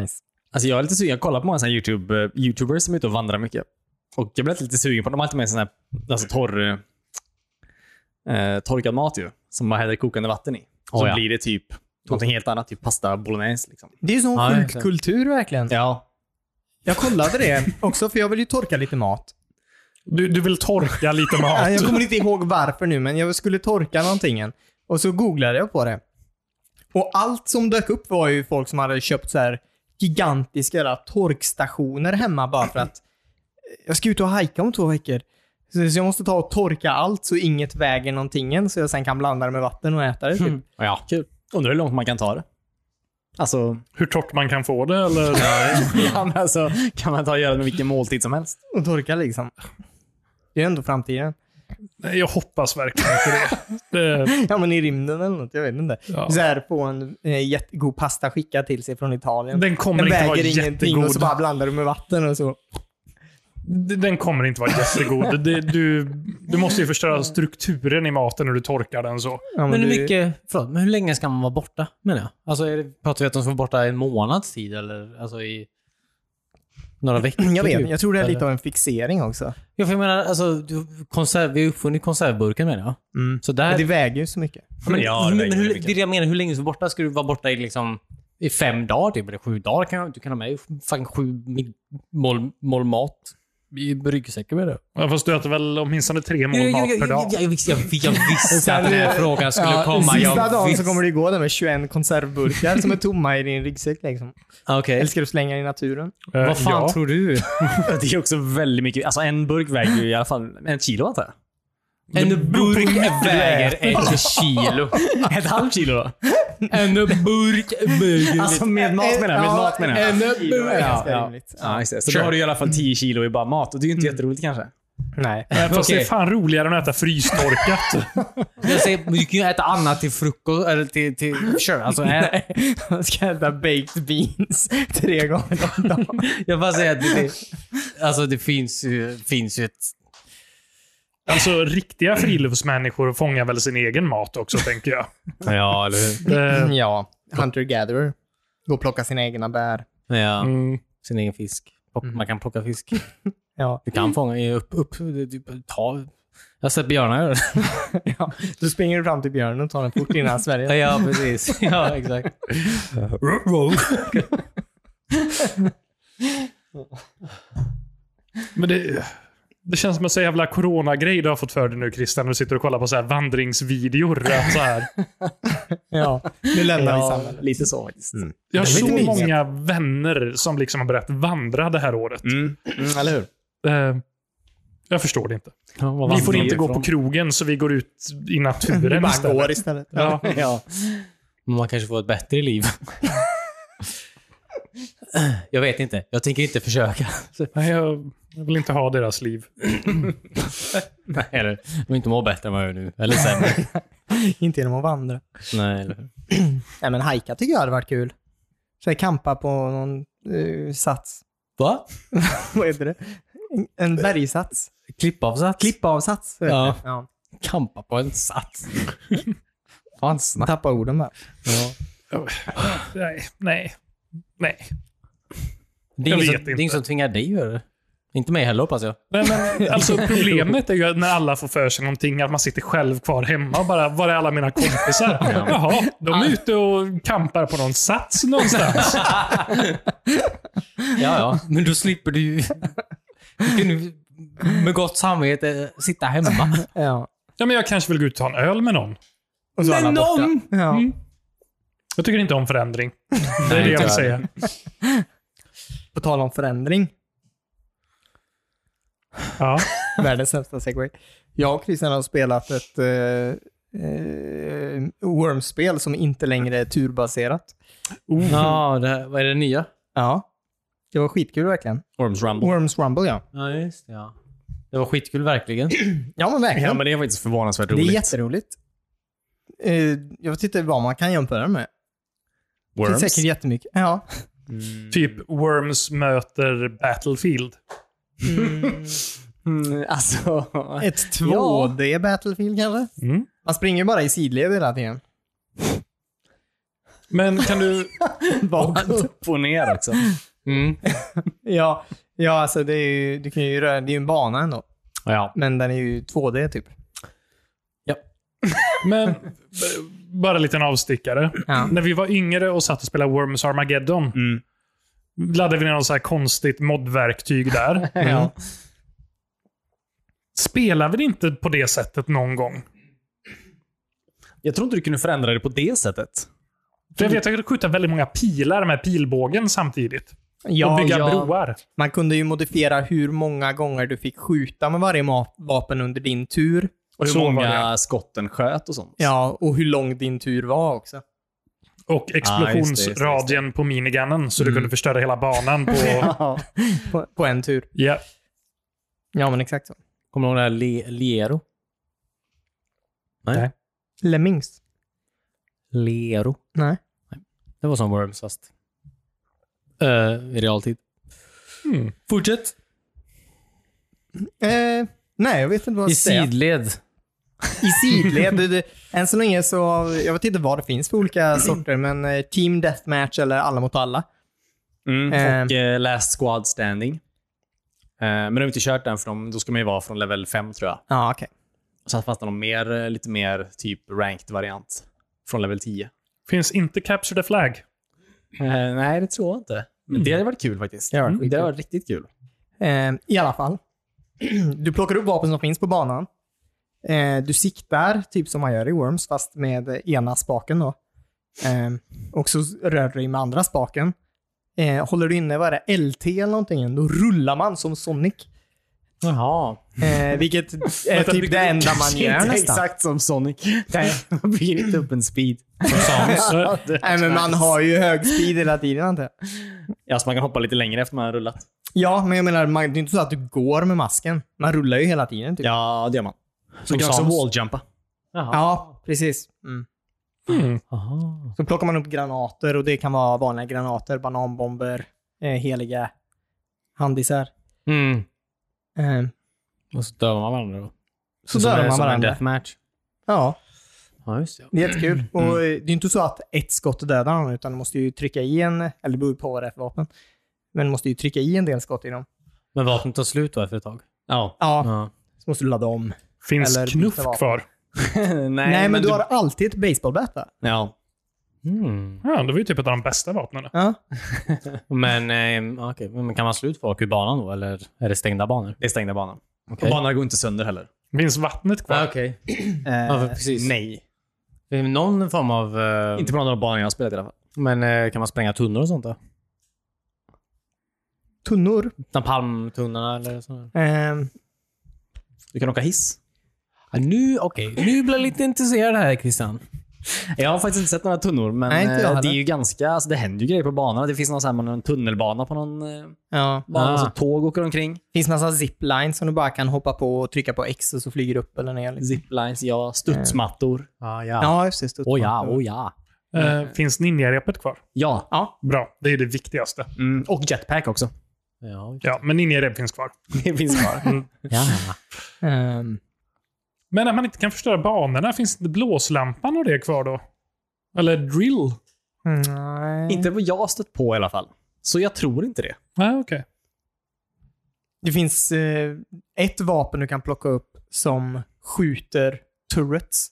S1: nice.
S4: Alltså jag är lite sugen. Jag kollar på många såna här YouTube, eh, YouTubers som är ute och vandrar mycket. Och jag blir lite sugen på De har alltid med sån här alltså torr, eh, torkad mat ju. Som man häller kokande vatten i. Och så
S2: Oh, ja.
S4: blir det typ någonting helt annat. Typ pasta bolognese. Liksom.
S1: Det är ju sån
S2: Ja,
S1: sjuk
S2: exakt.
S1: kultur verkligen.
S4: Ja.
S1: Jag kollade det också, för jag vill ju torka lite mat.
S3: Du, du vill torka lite
S1: Ja,
S3: mat.
S1: jag kommer inte ihåg varför nu, men jag skulle torka någonting. Och så googlade jag på det. Och allt som dök upp var ju folk som hade köpt så här gigantiska jävla torkstationer hemma bara för att eh, jag ska ut och hajka om två veckor. Så så jag måste ta och torka allt så inget väger någonting så jag sen kan blanda det med vatten och äta det. Typ.
S4: ja. Kul. Undrar hur långt man kan ta det. Alltså,
S3: Hur torrt man kan få det eller?
S4: (laughs) ja, men alltså kan man ta och göra det med vilken måltid som helst?
S1: Och torka liksom. Det är ju ändå framtiden.
S3: Nej, jag hoppas verkligen inte det. det
S1: (laughs) Ja, men i rymden eller något. Jag vet inte.
S3: Ja.
S1: Så här få en eh, jättegod pasta skickad till sig från Italien.
S3: Den kommer
S1: den
S3: inte vara
S1: väger ingenting och så
S3: jättegod.
S1: bara blandar du med vatten och så.
S3: D- Den kommer inte vara jättegod. Det, du, du måste ju förstöra strukturen i maten när du torkar den så.
S1: Ja, men
S2: Men hur
S1: du-
S2: mycket, förlåt, men hur länge ska man vara borta menar jag? Alltså är det, pratar vi att de ska vara borta en månads tid eller alltså i... Några
S4: (clears throat)
S2: veckor.
S1: Jag vet,
S2: typ.
S1: jag tror det är lite
S2: Eller-
S1: av en fixering också.
S2: Ja, för jag menar, alltså, du- konserv, vi har uppfunnit konservburken menar jag.
S1: Mm.
S2: Så där...
S1: Men det väger ju så mycket.
S4: Men ja, det
S2: men
S4: väger
S2: hur,
S4: mycket.
S2: det är det jag menar, hur länge ska du vara borta? Ska du vara borta i liksom i fem dagar typ, eller sju dagar? Kan, jag- du kan ha med dig fucking sju mid- mål, mål mat i ryggsäcken med dig.
S3: Ja, fast du äter väl åtminstone tre mål mat per dag?
S2: jag, visste- (laughs) jag, jag visste att den här frågan skulle komma.
S1: sista
S2: jag
S1: dagen så
S2: visste-
S1: kommer du gå där med 21 konservburkar som är tomma i din ryggsäck. Liksom.
S4: Eh.
S2: Okej.
S1: Eller ska du slänga i naturen?
S3: Eh,
S2: Vad fan
S3: ja.
S2: tror (laughs) du?
S4: Det är också väldigt mycket. Alltså en burk väger ju i alla fall en kilo antar jag.
S2: En burk väger ett kilo. (laughs)
S4: Ett halvt kilo då?
S2: En burk väger...
S4: Alltså med mat menar jag. Med mat menar jag.
S1: Eh, En burk är
S4: Ja,
S1: ganska
S4: ja.
S1: rimligt.
S4: ja just det. Så
S2: Sure.
S4: då har du i alla fall 10 kilo i bara mat och det är ju
S1: Mm.
S4: inte jätteroligt kanske.
S1: Nej. (laughs)
S3: Eh, Fast det är
S2: Okej.
S3: fan roligare än att äta (laughs) frystorkat.
S2: Jag säger, men du kan ju äta annat till frukost, eller till... till sure, (laughs) alltså, ä,
S1: Han ska äta baked beans (laughs) tre gånger om dagen.
S2: jag bara säger att det, det, alltså, det finns, ju, finns ju ett...
S3: alltså, riktiga friluftsmänniskor fångar väl sin egen mat också, tänker jag.
S2: Ja, eller hur?
S3: Eh,
S1: Ja, hunter gatherer. Gå och plocka sina egna bär.
S2: Ja,
S3: mm.
S2: sin egen fisk. Plock- Man kan plocka fisk.
S1: Ja.
S2: Du kan fånga i- upp, upp, typ, ta. Jag har sett björnar göra det.
S1: ja. Då springer du fram till björnen och tar den fort innan Sverige.
S4: (laughs)
S2: Ja, precis. (laughs) Ja, exakt.
S3: Men det, det känns som en så jävla coronagrej du har fått för dig nu, Christian. när Du sitter och kollar på så här vandringsvideor. att Så här.
S1: (laughs) Ja, nu lämnar vi
S4: Ja,
S1: samhället.
S4: lite så faktiskt. Mm.
S3: Jag har
S1: Det är
S3: så
S1: lite mysigt.
S3: många vänner som liksom har börjat vandra det här året.
S4: eller hur?
S3: Eh, jag förstår det inte. Vi får inte gå på krogen, så vi går ut (laughs) i
S1: Vi
S3: naturen
S1: bara
S3: istället.
S1: går istället.
S3: Ja.
S4: Ja.
S2: Man kanske får ett bättre liv. (laughs) Jag vet inte. Jag tänker inte försöka.
S3: Nej, jag jag vill inte ha deras liv.
S2: Nej, eller, jag vill inte må bättre än vad jag gör nu. Eller sämre.
S1: (laughs) Inte genom att vandra.
S2: Nej, eller hur?
S1: Nej, men hajka tycker jag hade varit kul. Så jag kampa på någon eh, sats. (laughs)
S2: Va?
S1: Vad heter det? En- En bergsats.
S2: Klippavsats?
S1: Klippavsats. heter
S2: Ja.
S1: det. ja.
S2: Kampa på en sats. Fan snack.
S1: Tappa orden där.
S2: Ja.
S3: Nej, nej, nej.
S2: Det är
S3: Jag
S2: ingen som-
S3: vet
S2: det är
S3: inte.
S2: ingen som tvingar dig att göra det. Inte mig heller hoppas jag.
S3: Nej, men, alltså, problemet är ju när alla får för sig någonting, att man sitter själv kvar hemma och bara, var är alla mina kompisar? Jaha, de är ute och kampar på någon sats någonstans.
S2: Ja, ja. (laughs) Men då slipper du ju... (laughs) Du kan ju med gott samvete sitta hemma.
S1: Ja.
S3: Ja, men jag kanske vill gå ut och ta en öl med någon.
S1: Och så alla borta. Ja.
S2: Mm.
S3: Jag tycker inte om förändring. Det är
S2: Nej,
S3: det jag vill
S2: tyvärr.
S3: säga.
S1: På tal om
S2: (laughs)
S1: förändring.
S3: Ja.
S1: Världens sämsta segway. Jag och Christian har spelat ett eh, eh, Worms-spel som inte längre är turbaserat.
S2: Ja, det här, vad är det nya?
S1: Ja. Det var skitkul verkligen.
S4: Orms Rumble.
S1: Worms Rumble, ja.
S2: Ja, just det. Ja. Det var skitkul verkligen.
S1: Ja, men verkligen.
S4: Ja, men det är faktiskt förvånansvärt
S1: det
S4: roligt.
S1: är jätteroligt. Eh, jag vet inte vad man kan jämföra med. Det finns säkert jättemycket. Ja.
S3: Typ Worms möter Battlefield.
S4: Mm, alltså...
S3: (laughs)
S1: Ett 2D Battlefield kanske?
S3: Mm.
S1: Man springer ju bara i sidled hela
S3: (laughs)
S1: tiden.
S3: Men
S1: (laughs)
S3: kan du...
S1: Bakåt.
S4: Upp och ner också.
S2: Mm.
S1: Ja, ja alltså det är ju, du kan ju röra, det är ju en bana ändå.
S2: Ja.
S1: Men den är ju 2D typ.
S3: Men, b- (laughs) bara en liten avstickare.
S1: Ja.
S3: När vi var yngre och satt och spelade Worms Armageddon,
S4: Mm.
S3: laddade vi ner något så här konstigt modverktyg
S4: (laughs)
S3: där.
S1: Ja.
S3: Spelar vi det inte på det sättet någon gång?
S4: Jag tror inte du kunde förändra det på det sättet.
S3: För jag
S4: Mm.
S3: vet att jag kunde skjuta väldigt många pilar med pilbågen samtidigt.
S1: Ja,
S3: och bygga
S1: ja.
S3: broar.
S1: Man kunde ju modifiera hur många gånger du fick skjuta med varje ma- vapen under din tur.
S4: Och hur
S3: Så var
S4: många skotten sköt och sånt.
S1: Ja, och hur lång din tur var också.
S3: Och explosionsradien på minigunnen, så du
S4: Mm.
S3: kunde förstöra hela
S1: (laughs)
S3: banan på...
S1: på, på en tur.
S3: ja.
S1: Ja, men exakt så.
S2: Kommer du ihåg det här Le- Lero?
S3: Nej.
S1: Lemmings?
S2: Lero.
S1: Nej.
S2: Det var som Worms fast eh, i realtid.
S3: Mm.
S2: Fortsätt.
S1: Eh, nej, jag vet inte vad
S2: I
S1: jag ska säga.
S2: sidled.
S1: I sidled. Det- det- Än så länge så, jag vet inte vad det finns för olika sorter, men eh, Team Deathmatch eller Alla mot alla.
S4: Mm, och
S1: Ehm.
S4: eh, Last Squad Standing. Eh, men de har inte kört den, för de, då ska man ju vara från level 5 tror jag.
S1: Ja, okej.
S4: Så fanns det någon mer, eh, lite mer typ ranked variant från level 10.
S3: Finns inte Capture the Flag.
S4: Eh, nej, det tror jag inte. Men det hade varit kul faktiskt.
S1: Det hade varit
S4: Mm, det hade varit riktigt kul.
S1: Eh, I alla fall. (clears throat) Du plockar upp vapen som finns på banan. Eh, du siktar, typ som man gör i Worms, fast med eh, ena spaken då. Eh, och så rör du dig med andra spaken. Eh, håller du inne, vad är det, LT eller någonting, då rullar man som Sonic.
S4: Jaha.
S1: Eh, vilket
S2: (laughs)
S1: är typ det enda man gör nästan.
S4: exakt som Sonic. (laughs) Man bygger inte upp en speed. (laughs)
S3: Så,
S1: Nej, men man har ju hög speed hela tiden antar jag.
S4: Ja, så man kan hoppa lite längre efter man har rullat.
S1: Ja, men jag menar, man, det är inte så att du går med masken. Man rullar ju hela tiden. Typ.
S4: Ja, det gör man.
S1: Som
S4: man kan också
S1: Samus.
S4: walljumpa.
S1: Ja, precis. Mm.
S3: mm.
S4: Aha.
S1: Så plockar man upp granater och det kan vara vanliga granater, bananbomber, eh, heliga handisar.
S2: Mm.
S1: Eh,
S2: Och så dör man varandra då.
S1: så dör man
S2: Som en
S1: varandra.
S2: deathmatch.
S1: Ja,
S2: Ja, just det.
S1: det är jättekul. Och eh, det är ju inte så att ett skott dödar någon, utan du måste ju trycka i en, eller det beror ju på vad det är för vapen, men du måste ju trycka i en del skott i dem.
S2: Men vapnet tar slut då efter ett tag?
S4: Ja.
S1: Ja,
S2: Ja.
S1: så måste du ladda om.
S3: Finns
S1: Eller
S3: knuff
S1: byta vapen.
S3: kvar?
S4: nej,
S1: Nej, men, du har alltid ett baseballbat va?
S4: Ja.
S2: Mm.
S3: Ja, det var ju typ ett av de bästa vapnen.
S1: Ja.
S2: Men, eh, okej, men kan man slut folk ur banan då, eller är det stängda banor?
S4: Det är stängda banan.
S2: Okej. Ah,
S4: Och banorna går inte sönder heller.
S3: Finns vattnet kvar?
S2: okej.
S4: Eh,
S2: precis.
S4: Nej.
S2: Okay. Någon form av... eh,
S4: Inte på någon av de banor jag har spelat i alla fall.
S2: Men eh, kan man spränga tunnor och sånt då?
S1: Tunnor.
S2: Napalmtunnorna eller sånt?
S1: Eh,
S4: Du kan åka hiss.
S2: Ja, nu, okej. Nu blir jag lite intresserad här Christian.
S4: Jag har faktiskt inte sett några tunnor, men
S1: Nej, inte jag
S4: eh, det
S1: heller.
S4: är ju ganska... Alltså, det händer ju grejer på banorna. Det finns någon, så här, man har en tunnelbana på någon eh,
S1: ja.
S4: bana.
S2: Ah.
S4: Så tåg åker omkring.
S1: finns massa ziplines som du bara kan hoppa på och trycka på X och så flyger du upp eller ner. Liksom.
S4: Ziplines, ja. Studsmattor.
S2: Ah, ja.
S1: Ja, just det. studsmattor.
S4: Åh ja, åh ja.
S3: Eh, finns ninjarepet kvar?
S4: Ja.
S1: Ja.
S3: Bra, det är det viktigaste.
S4: Mm. Och jetpack också.
S2: Ja.
S3: Ja, men ninjarep finns kvar.
S4: Det finns kvar. (laughs)
S2: ja.
S1: Ehm,
S3: Men när man inte kan förstöra banorna, finns inte blåslampan och det kvar då? Eller drill?
S1: nej.
S4: Inte vad jag har stött på i alla fall. Så jag tror inte det.
S3: Nej, okej.
S1: Det finns eh, ett vapen du kan plocka upp som skjuter turrets.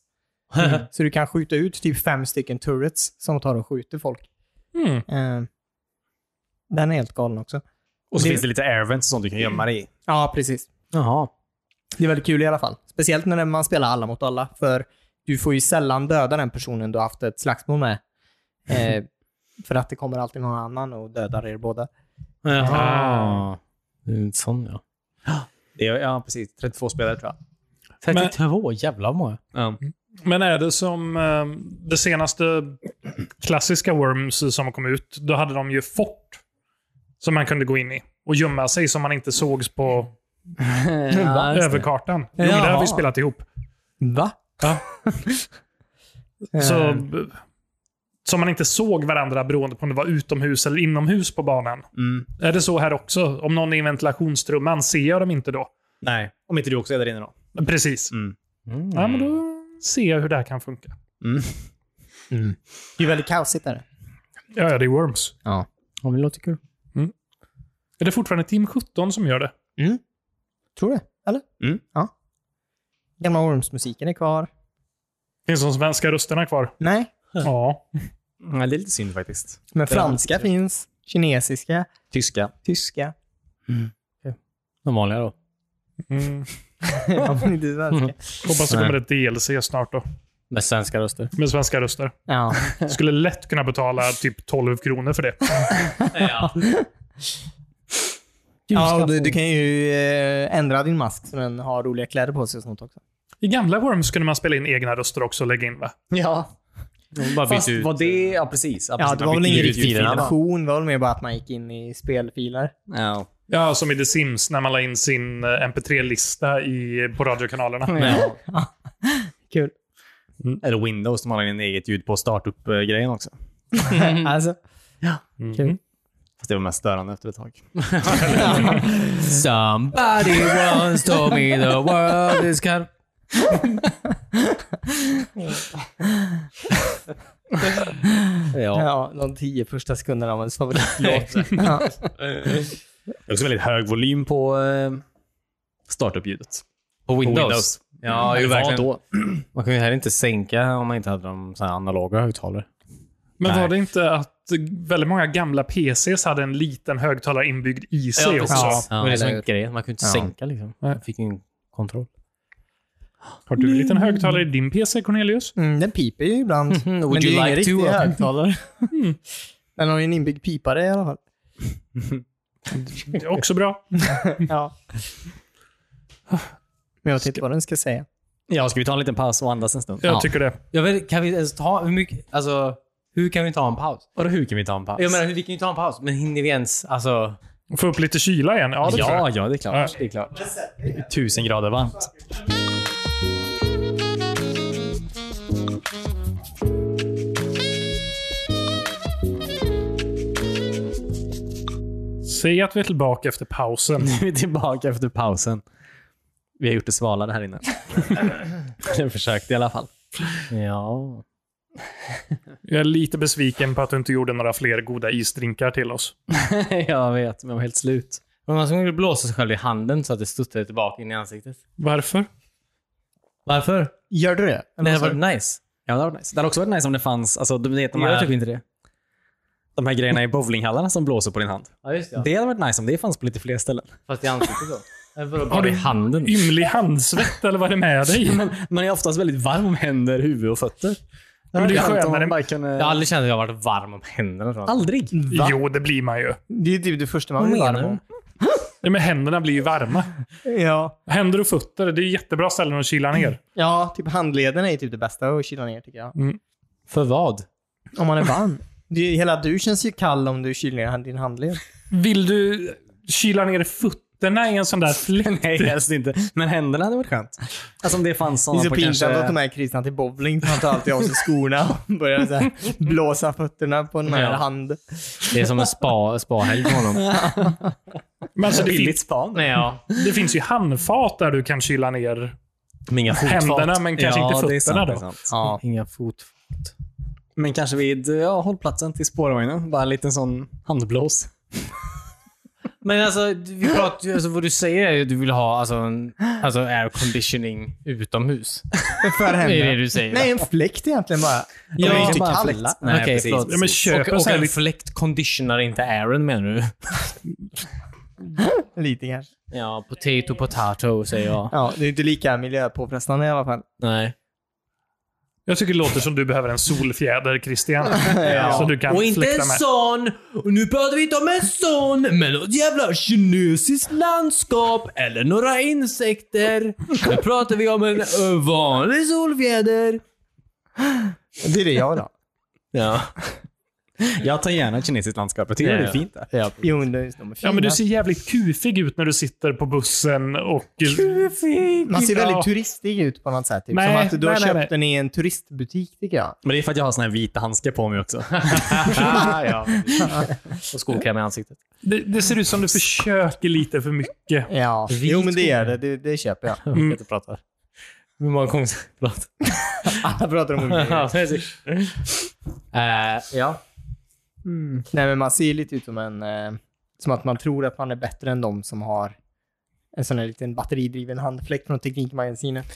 S1: Mm. (laughs) Så du kan skjuta ut typ fem stycken turrets som tar och skjuter folk.
S3: Mm.
S1: Eh, den är helt galen också.
S4: Och så
S1: Det-
S4: finns det lite airvents och sånt du kan gömma dig i.
S1: Ja, precis.
S2: Jaha.
S1: Det är väldigt kul i alla fall. Speciellt när man spelar alla mot alla, för du får ju sällan döda den personen du har haft ett slagsmål (laughs) med. Eh, för att det kommer alltid någon annan och dödar er båda.
S2: Jaha. Det är en sån ja.
S4: Det är, ja, precis. 32 spelare tror jag.
S2: 32, jävlar vad många.
S3: Men är det som eh, det senaste klassiska Worms som kom ut, då hade de ju fort som man kunde gå in i och gömma sig så man inte sågs på
S4: Ja, just det.
S3: överkartan. Jo, men det har vi
S1: Jaha.
S3: spelat ihop.
S1: Va?
S3: Ja.
S1: Eh,
S3: Så, b- så man inte såg varandra beroende på om det var utomhus eller inomhus på banan.
S4: Mm.
S3: Är det så här också? Om någon är i ventilationstrumman, ser jag dem inte då?
S4: Nej, om inte du också är där inne då.
S3: Precis.
S4: Mm.
S2: Mm.
S3: Ja, men då ser jag hur det här kan funka.
S1: Det är väldigt kaosigt där.
S3: Ja, ja, det är Worms. Mm.
S1: Ja.
S2: Ja, men det låter kul.
S3: Är det fortfarande Team 17 som gör det?
S1: Tror du? Eller?
S4: Mm.
S1: Ja. Gamla Worms-musiken är kvar.
S3: Finns de svenska rösterna kvar?
S1: Nej.
S3: Ja.
S4: Ja, det är lite synd faktiskt.
S1: Men
S4: Det är
S1: franska
S4: alltid-
S1: finns. Kinesiska.
S4: Tyska.
S1: Tyska. Mm.
S2: De vanliga då.
S1: (laughs)
S3: Mm.
S1: Ja, men inte svenska.
S3: Hoppas det kommer ett DLC snart då.
S2: Med svenska röster.
S3: Med svenska röster.
S1: Ja.
S3: Skulle lätt kunna betala typ 12 kronor för det.
S1: ja och du, du kan ju eh, ändra din mask så den har roliga kläder på sig och sånt också.
S3: I gamla Worms kunde man spela in egna röster också och lägga in va?
S4: Ja.
S2: De bara
S4: Fast
S2: byter ut.
S4: var det... Ja, precis. eh,
S1: Ja,
S4: Ja, precis. Man
S1: det var väl
S4: byter
S1: ingen
S4: ut
S1: riktig
S4: filerna, va?
S1: funktion. Det var väl mer bara att man gick in i spelfiler.
S4: Ja.
S3: Ja, som i The Sims när man la in sin eh, mp3-lista i, eh, på radiokanalerna.
S4: Ja.
S1: Kul.
S4: Eller Windows, de har en eget ljud på startup-grejen också.
S1: (laughs) Alltså.
S3: Mhm.
S4: Fast det var mest störande efter ett tag.
S2: Somebody once told me the world is kind...
S4: Ja.
S1: Ja, de tio första sekunderna av ens favoritlåt. ja.
S4: Det är också väldigt hög volym på eh, startup-ljudet.
S2: På
S4: På
S2: Windows.
S4: Windows.
S2: Ja, ju
S4: Det var
S2: verkligen.
S4: Då.
S2: Man kan ju heller inte sänka om man inte hade de så här analoga högtalare.
S3: Men
S2: Nej.
S3: var det inte att väldigt många gamla PCs hade en liten högtalare inbyggd i sig också?
S1: Ja.
S2: Det var det som
S1: eller
S2: var
S1: hur?
S2: grejen. Man kunde inte
S1: Ja.
S2: sänka liksom. Man fick ingen kontroll.
S3: Har du en liten högtalare i din PC, Cornelius?
S1: (laughs) Mm, den piper ju ibland. Men det är ju ingen riktig (laughs) högtalare. Mm. Den har ju en inbyggd pipare i alla fall.
S3: Det är också bra.
S1: Ja. (laughs) Men jag vet inte vad den ska säga.
S4: Ja, ska vi ta en liten paus och andas en stund?
S3: Jag
S4: Ja.
S3: tycker det.
S2: Jag vet, kan vi ens ta hur mycket... Alltså, hur kan vi ta en paus?
S4: Vadå, hur kan vi ta en paus?
S2: Jag menar, hur- vi kan ju ta en paus, men hinner vi ens... Alltså...
S3: Få upp lite kyla igen. Ja, det tror
S4: ja,
S3: jag.
S4: ja, det är klart.
S3: Ja.
S4: Det är klart. Det är Tusen grader varmt.
S3: Säg att vi är tillbaka efter pausen.
S4: Nu är vi tillbaka efter pausen. Vi har gjort det svalare
S2: (laughs)
S4: här inne. Jag försökte i alla fall.
S2: Ja.
S3: Jag är lite besviken på att du inte gjorde några fler goda isdrinkar till oss.
S4: (laughs) jag vet, men jag var helt slut.
S2: Men man skulle blåsa sig själv i handen så att det studsade tillbaka in i ansiktet.
S3: Varför?
S2: Varför?
S1: Gör du det?
S2: Det
S1: Eller
S2: hade
S1: vad sa
S2: varit nice.
S4: Ja, det hade varit nice. Det hade också varit nice om det fanns alltså, du vet, de,
S2: Jag
S4: här,
S2: gör typ inte det.
S4: de här grejerna i bowlinghallarna som blåser på din hand.
S2: Ja, just
S4: Det hade varit nice om det fanns på lite fler ställen.
S2: Fast i ansiktet då? Eller vadå,
S3: Har
S2: bara
S3: du-
S2: i handen?
S3: Ymlig handsvett, eller vad är det med dig?
S4: Men man är oftast väldigt varm om händer, huvud och fötter. Det
S3: Men det är
S4: varit skönt om
S3: skönare.
S4: man bara kunde...
S2: Jag har aldrig känt att jag har varit varm om händerna. tror jag.
S4: Aldrig. (laughs)
S1: Va?
S3: Jo, det blir man ju.
S1: du? Det är ju typ det första man
S2: Vad
S1: blir
S2: menar
S1: varm om.
S3: Ja, Men händerna blir ju varma.
S1: Ja.
S3: Händer och fötter, det är jättebra ställen att kyla ner.
S1: ja, typ handleden är typ det bästa att kyla ner tycker jag.
S2: För vad?
S1: Om man är varm. (laughs) Det är, hela du känns ju kall om du kyler ner din handled.
S3: Vill du kyla ner fötterna i en sån där fläkt?
S4: Nej, helst inte. Men händerna hade varit skönt. Alltså om det fanns
S1: Det är
S4: sådana
S1: så
S4: på
S1: pinsamt att ta
S4: kanske...
S1: med Christian till bowling. för Han tar alltid av sig skorna (laughs) och börjar så här blåsa fötterna på den här
S2: Ja.
S1: hand.
S2: Det är som en spa, spahelg på honom.
S3: Men alltså, det,
S4: Billigt
S3: finns,
S4: span.
S2: Nej, ja.
S3: det finns ju handfat där du kan kyla ner.
S4: Men inga fotfat.
S3: Händerna, men kanske
S4: ja,
S3: inte
S4: det är sant,
S3: fötterna
S4: det är
S3: då.
S4: sant.
S1: Ja.
S2: Inga fot...
S4: Men kanske vid ja, hållplatsen till spårvagnen. Bara en liten sån handblås.
S2: Men alltså, du- vi pratar, ju- alltså, vad du säger är ju att du vill ha alltså, en, alltså air conditioning utomhus.
S1: För
S2: Det är
S1: händerna.
S2: det du säger.
S1: Nej, en fläkt egentligen bara.
S2: Ja,
S1: det är ju inte
S4: bara en
S1: kallt.
S4: fläkt.
S2: Okej,
S4: Nej,
S2: förlåt.
S4: precis.
S3: Ja, men köp
S2: och,
S3: en
S2: och
S3: sån här
S2: en
S3: liten...
S2: fläkt conditionar inte airen menar du?
S1: Lite kanske.
S2: Ja, potato potato säger jag.
S1: Ja, det är inte lika miljöpåfrestande i alla fall.
S2: Nej.
S3: Jag tycker det låter som du behöver en solfjäder,
S2: (laughs)
S3: Christian. Så du kan
S2: och inte
S3: fläkta
S2: en
S3: med.
S2: sån! Och nu pratar vi inte om en sån, men något jävla kinesiskt landskap eller några insekter. Nu pratar vi om en ö, vanlig solfjäder.
S1: Det är det jag vill ha.
S2: Ja.
S4: Jag tar gärna ett kinesiskt landskap. Jag tycker
S2: Ja,
S4: det är
S2: ja.
S4: fint där.
S2: ja.
S1: Jo, men de är fina.
S3: Ja, men du ser jävligt kufig ut när du sitter på bussen och...
S1: Man ser
S3: Ja.
S1: väldigt turistig ut på något sätt. Typ.
S3: Nej,
S1: Som att du har
S3: nej, nej,
S1: köpt
S3: nej.
S1: den i en turistbutik, tycker jag.
S4: Men det är för att jag har såna här vita handskar på mig också.
S1: Ah,
S2: ja. Och skokräm i ansiktet.
S3: Det, det ser ut som du försöker lite för mycket.
S1: (laughs) Ja. Jo, men det är det. Det, det köper jag.
S2: Jag orkar inte prata. Hur många gånger ska jag prata?
S1: Alla pratar om olika grejer.
S2: Ja, typ. precis. Eh, ja.
S1: Nej, men man ser ju lite ut som en... Eh, som att man tror att man är bättre än de som har en sån här liten batteridriven handfläkt från Teknikmagasinet.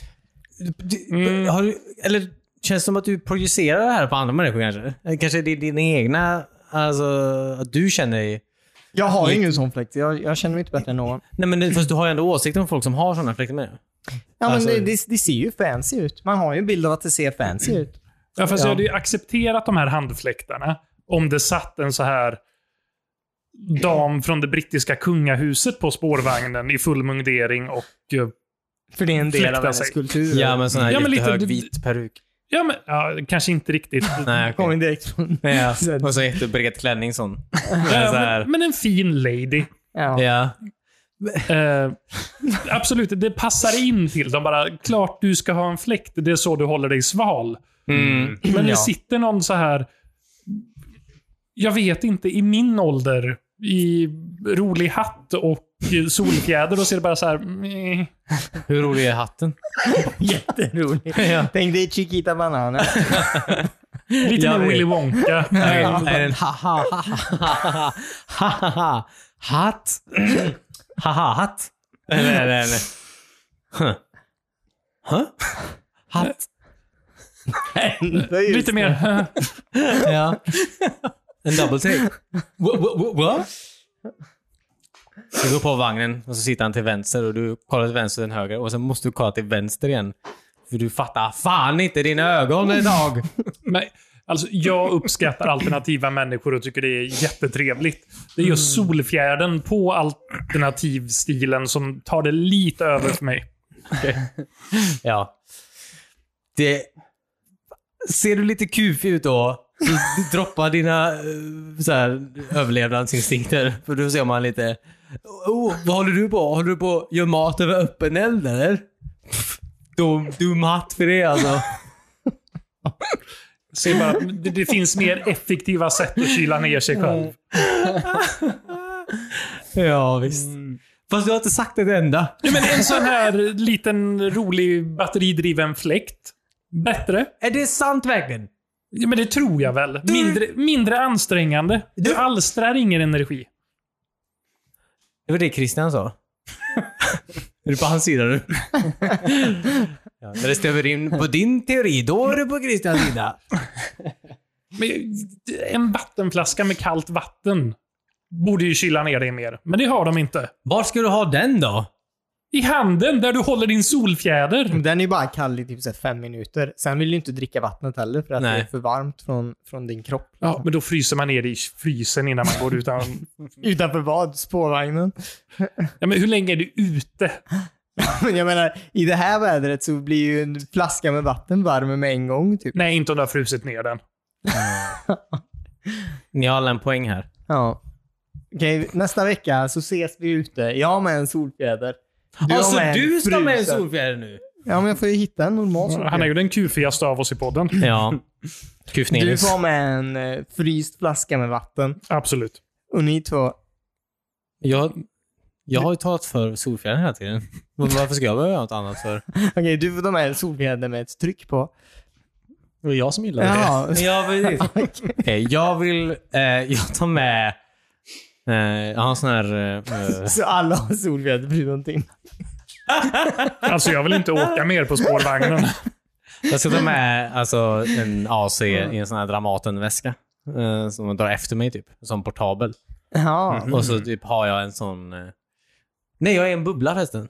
S3: Mm.
S2: Har du, eller känns det som att du projicerar det här på andra människor kanske? Eller Kanske det är dina egna, alltså att du känner dig...
S1: Jag har ju ingen sån fläkt. Jag, jag känner mig inte bättre än någon.
S2: Nej men det- fast du har ju ändå åsikter om folk som har sådana fläktar med.
S1: Ja, men
S2: Alltså-
S1: det, det, det ser ju fancy ut. Man har ju en bild av att det ser fancy ut.
S3: Ja, fast
S1: Ja.
S3: jag hade ju accepterat de här handfläktarna om det satt en så här dam från det brittiska kungahuset på spårvagnen i full mundering och... eh,
S1: För det är en del
S3: Fläktar
S1: av hennes
S3: sig.
S1: kultur.
S2: Ja men sån här
S3: Ja, men lite-
S2: jättehög
S3: du-
S2: vit peruk.
S3: Ja, men ja, kanske inte riktigt.
S2: Nej
S1: Kommer
S2: okej.
S1: direkt från...
S2: Ja,
S1: Så här-
S2: (laughs) och så jättebred klänning sån.
S3: Ja,
S2: så här.
S3: men, men en fin lady.
S1: Ja.
S2: Ja.
S3: Eh, absolut, det passar in till dem. Bara, klart du ska ha en fläkt. Det är så du håller dig sval.
S2: Mm.
S3: Men det
S1: Ja.
S3: sitter någon så här... Jag vet inte, i min ålder, i rolig hatt och solfjäder, och ser det bara så här... mm, meh.
S2: Hur rolig är hatten?
S1: (laughs) Jätterolig.
S2: Ja.
S1: (laughs) Tänk dig Chiquita Banana.
S3: Lite
S2: Jag
S3: mer
S2: vet.
S3: Willy Wonka.
S2: Nej, är den haha haha haha hatt? Haha hatt? Nej, nej, nej. nej. Huh. Huh? Hatt?
S3: Lite mer...
S2: Ja. En double take. Wha- wha- wha- What? Du går på vagnen och så sitter han till vänster och du kollar till vänster och sen höger och sen måste du kolla till vänster igen. För du fattar fan inte dina ögon idag.
S3: (laughs) Men, alltså, jag uppskattar alternativa människor och tycker det är jättetrevligt. Det är just solfjärden på alternativstilen som tar det lite över för mig.
S2: Ja. Det... Ser du lite kufig ut då, så d- droppa dina eh, så här, överlevnadsinstinkter. För då ser man lite... Oh, vad håller du på? Håller du på att göra mat över öppen eld eller? Pff, Dum, dum hatt för det alltså.
S3: Ser bara att det, det finns mer effektiva sätt att kyla ner sig själv.
S2: Ja, visst. Fast du har inte sagt ett enda.
S3: Ja, men en sån här liten rolig batteridriven fläkt. Bättre.
S2: Är det sant verkligen?
S3: Ja, men det tror jag väl. Mindre, mindre ansträngande. Du alstrar ingen energi.
S2: Det var det Christian sa. är du på hans sida (laughs) nu? ja, när det stämmer in på din teori, då är du på Christians sida.
S3: Men eh, en vattenflaska med kallt vatten borde ju kyla ner dig mer. Men det har de inte.
S2: Var ska du ha den då?
S3: I handen, där du håller din solfjäder.
S1: Den är bara kall i typ så här fem minuter. Sen vill du inte dricka vattnet heller för att
S2: Nej.
S1: det är för varmt från, från din kropp.
S3: Ja, men då fryser man ner i frysen innan man går utan...
S1: Utanför vad? Spårvagnen? (laughs)
S3: Ja, men hur länge är du ute?
S1: Men jag menar, i det här vädret så blir ju en flaska med vatten varm med en gång typ. (laughs)
S3: Nej, inte om du har frusit ner den.
S2: Ni har alla en poäng här.
S1: Ja. Okej, nästa vecka så ses vi ute. Jag har med en solfjäder. Du har
S2: alltså
S1: med en
S2: du ska med en
S1: frusen.
S2: solfjäder nu?
S1: Ja, men jag får ju hitta en normal
S3: Alltså, Han är
S1: solfjäder.
S3: ju den kufigaste av oss i podden.
S2: Ja.
S1: Du
S2: Kufnelis.
S1: får ha med en eh, fryst flaska med vatten.
S3: Absolut.
S1: Och ni två,
S2: Jag, jag har ju talat för solfjädern hela tiden. Men Varför ska jag behöva göra något annat för?
S1: okej du får ta med en solfjäder med ett tryck på.
S4: Det var jag som gillade (laughs) det.
S1: Ja, (laughs)
S2: Ja, precis. Okej, jag vill... Eh, jag tar med... Eh, jag har en sån här... Eh,
S1: så alla har solfjäder förutom Tim.
S3: Alltså, jag vill inte åka mer på spårvagnen.
S2: jag ska ta med alltså, en AC i en sån här Dramatenväska. Eh, som drar efter mig typ. Som portabel.
S1: Ja.
S2: Och
S4: Mm.
S2: så typ har jag en sån... eh, Nej, jag är en bubbla förresten.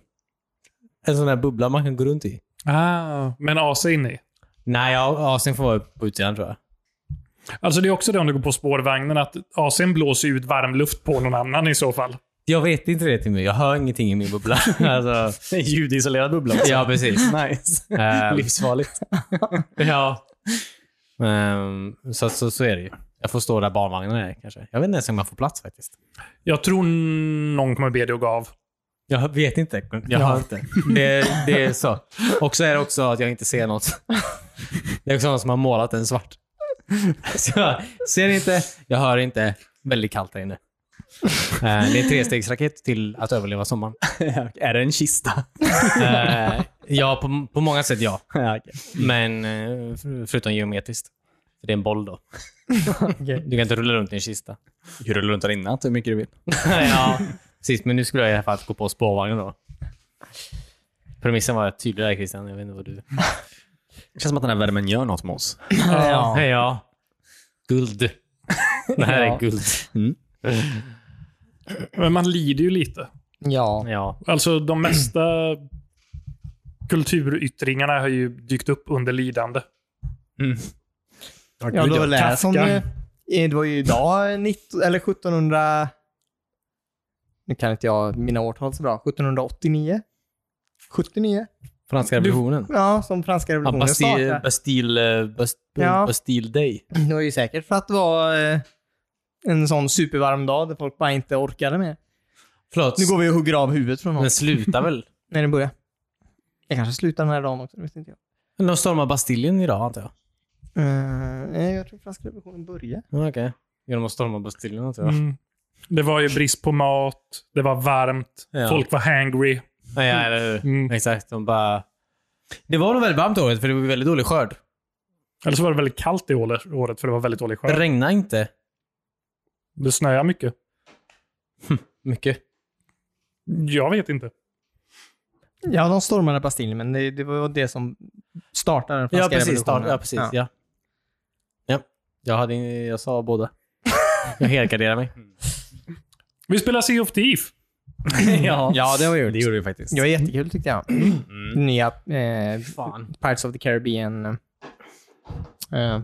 S2: En sån där bubbla man kan gå runt i.
S3: Ah, men AC in i.
S2: Nej, jag, AC'n får vara på utsidan tror jag.
S3: Alltså, det är också det om du går på spårvagnen, att AC'n blåser ut varmluft på någon annan i så fall.
S2: Jag vet inte det Timmy. Jag hör ingenting i min
S4: (laughs)
S2: bubbla. alltså,
S4: En ljudisolerad bubbla.
S2: ja, precis.
S4: (laughs) Nice.
S2: Ehm,
S4: Livsfarligt.
S2: (laughs) ja. Ehm, så, så, så är det ju. Jag får stå där barnvagnen är kanske. Jag vet inte ens om jag får plats faktiskt.
S3: Jag tror någon kommer be dig att gå av.
S2: Jag vet inte. Jag hör inte. Det, det är så. Och så är det också att jag inte ser något. Det är också någon som har målat den svart. Så jag ser inte, jag hör inte. Väldigt kallt där inne. Eh, Det är en trestegsraket till att överleva sommaren.
S4: är det en kista? (laughs)
S2: Eh, Ja, på, på många sätt ja.
S4: ja, okej.
S2: Men eh, för- förutom geometriskt. För det är en boll då.
S1: Okej.
S2: Du kan inte rulla runt i en kista.
S4: Du kan rulla runt där inne hur mycket du vill.
S1: (laughs)
S2: ja, precis. Men nu skulle jag i alla fall gå på spårvagnen då. Premissen var tydlig där Christian. Jag vet inte vad du...
S4: Det känns som att den här värmen gör något med oss.
S1: Ja.
S2: Ja.
S1: (laughs)
S2: Guld. Det här
S1: Ja.
S2: är guld.
S3: Men man lider ju lite.
S1: ja.
S2: Ja.
S3: Alltså de mesta kulturyttringarna har ju dykt upp under lidande.
S2: Mm.
S1: Ja, det var väl det som...
S3: Kafka.
S1: eh, Det var ju idag, 19, eller 1700... Nu kan inte jag mina årtal så bra. 1789? 79?
S2: Franska revolutionen.
S1: Ja, som franska
S2: Ja,
S1: revolutionen
S2: Bastille,
S1: startade.
S2: Bastille, Bastille,
S1: Ja.
S2: Bastille Day.
S1: Det var ju säkert för att det var eh, en sån supervarm dag där folk bara inte orkade mer.
S2: Förlåt.
S1: Nu går vi och hugger av huvudet från någon.
S2: Men sluta väl?
S1: När det börjar. Jag kanske slutar den här dagen också, det vet inte jag.
S2: Men De stormar Bastiljen idag antar jag.
S1: Eh, nej, jag tror franska revolutionen började.
S2: Ja, Okej. Genom att storma Bastiljen antar jag.
S3: Mm. Det var ju brist på mat, det var varmt,
S2: Ja.
S3: folk var hangry.
S2: Ja, ja, eller hur?
S3: Mm.
S2: Exakt. De bara... Det var nog väldigt varmt året för det var väldigt dålig skörd.
S3: Eller så var det väldigt kallt det åle- året, för det var väldigt dålig
S2: Det
S3: skörd.
S2: regnar inte
S3: Det snöade mycket.
S2: mycket.
S3: Jag vet inte.
S1: Ja, de stormade Bastiljen, men det, det var det som startade den franska
S2: Ja, precis.
S1: revolutionen.
S2: Start, ja, precis. Ja. Ja. Jag, hade, jag sa båda. (laughs) Jag helgarderar mig.
S3: Vi spelar Sea of Thief.
S2: ja.
S1: (laughs) Ja, det var ju
S4: Det gjorde vi faktiskt.
S1: Det var jättekul tyckte jag. Nya eh,
S2: Fan.
S1: Pirates of the Caribbean eh,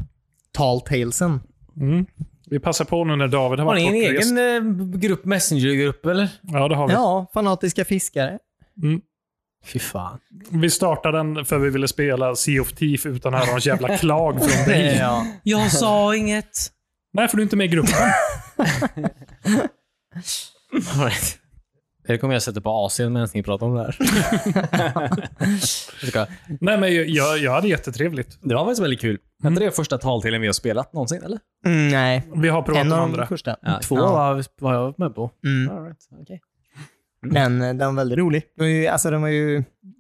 S1: Tall Talesen.
S3: Mm. Vi passar på nu när David har
S2: Har
S3: varit
S2: ni en
S3: bortrest.
S2: egen eh, grupp, Messenger-grupp eller?
S3: Ja, det har vi.
S1: Ja, fanatiska fiskare.
S2: Fy fan.
S3: Vi startade den för vi ville spela Sea of Thief utan att höra någon jävla klag från dig.
S1: ja.
S2: Jag sa inget.
S3: Nej, för du är inte med i gruppen.
S2: Det kommer jag sätta på Asien medan ni pratar om det här. Jag ska-
S3: Nej, men jag- jag, jag hade jättetrevligt.
S4: Det var faktiskt väldigt kul. Hette det första taltelen vi har spelat någonsin, eller?
S1: Mm, nej.
S3: Vi har provat
S1: En
S3: om
S1: av de
S3: andra.
S1: första.
S2: Två
S1: Ja.
S2: var, var jag med på.
S1: Mm.
S2: All right. okay.
S1: Men eh, den var väldigt rolig. Den var ju, alltså, den var ju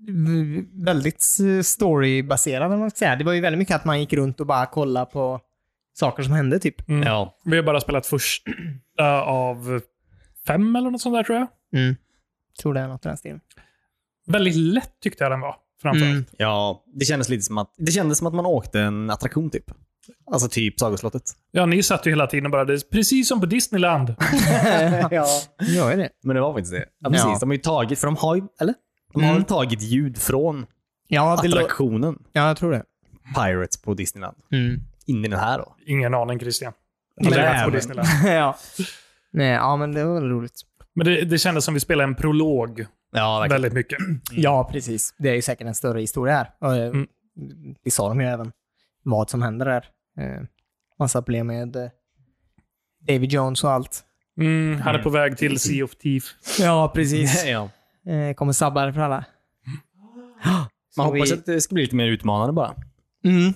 S1: v- väldigt eh, storybaserad, om man ska säga. Det var ju väldigt mycket att man gick runt och bara kollade på saker som hände, typ.
S3: Mm.
S2: Ja.
S3: Vi har bara spelat första av fem eller något sånt där tror jag.
S1: Mm. Tror det är något i den stilen.
S3: Väldigt lätt tyckte jag den var. Framför
S1: Mm. (laughs)
S3: allt.
S4: Ja, det kändes lite som att, det kändes som att man åkte en attraktion typ. Alltså typ Sagoslottet.
S3: Ja, ni satt ju hela tiden och bara, det är precis som på Disneyland.
S1: ja, gör ju det.
S4: Men det var faktiskt det.
S1: Ja.
S4: Ja, precis. De har ju tagit, för de har ju, eller? De har
S1: Mm.
S4: väl tagit ljud från
S1: Ja, det lå-
S4: attraktionen
S1: ja, jag tror det.
S4: Pirates på Disneyland.
S1: Mm.
S4: In i den här då.
S3: Ingen aning Christian.
S4: Nej,
S3: Eller på
S4: men-
S3: Disneyland.
S1: (laughs) ja. Nej, ja, men det var väl roligt.
S3: Men det, det kändes som vi spelade en prolog
S4: Ja,
S3: väldigt mycket.
S1: Ja, precis. Det är ju säkert en större historia här. Och, eh,
S3: Mm.
S1: Det sa de ju även, vad som händer där. Eh, Massa problem med eh, David Jones och allt.
S3: Mm,
S1: Eh,
S3: han är på väg till Sea of Thief.
S1: Ja, precis.
S4: ja.
S1: (laughs) Eh, Kommer sabba det för alla.
S4: Man
S1: Så
S4: hoppas
S1: vi-
S4: att det ska bli lite mer utmanande bara.
S1: Mm.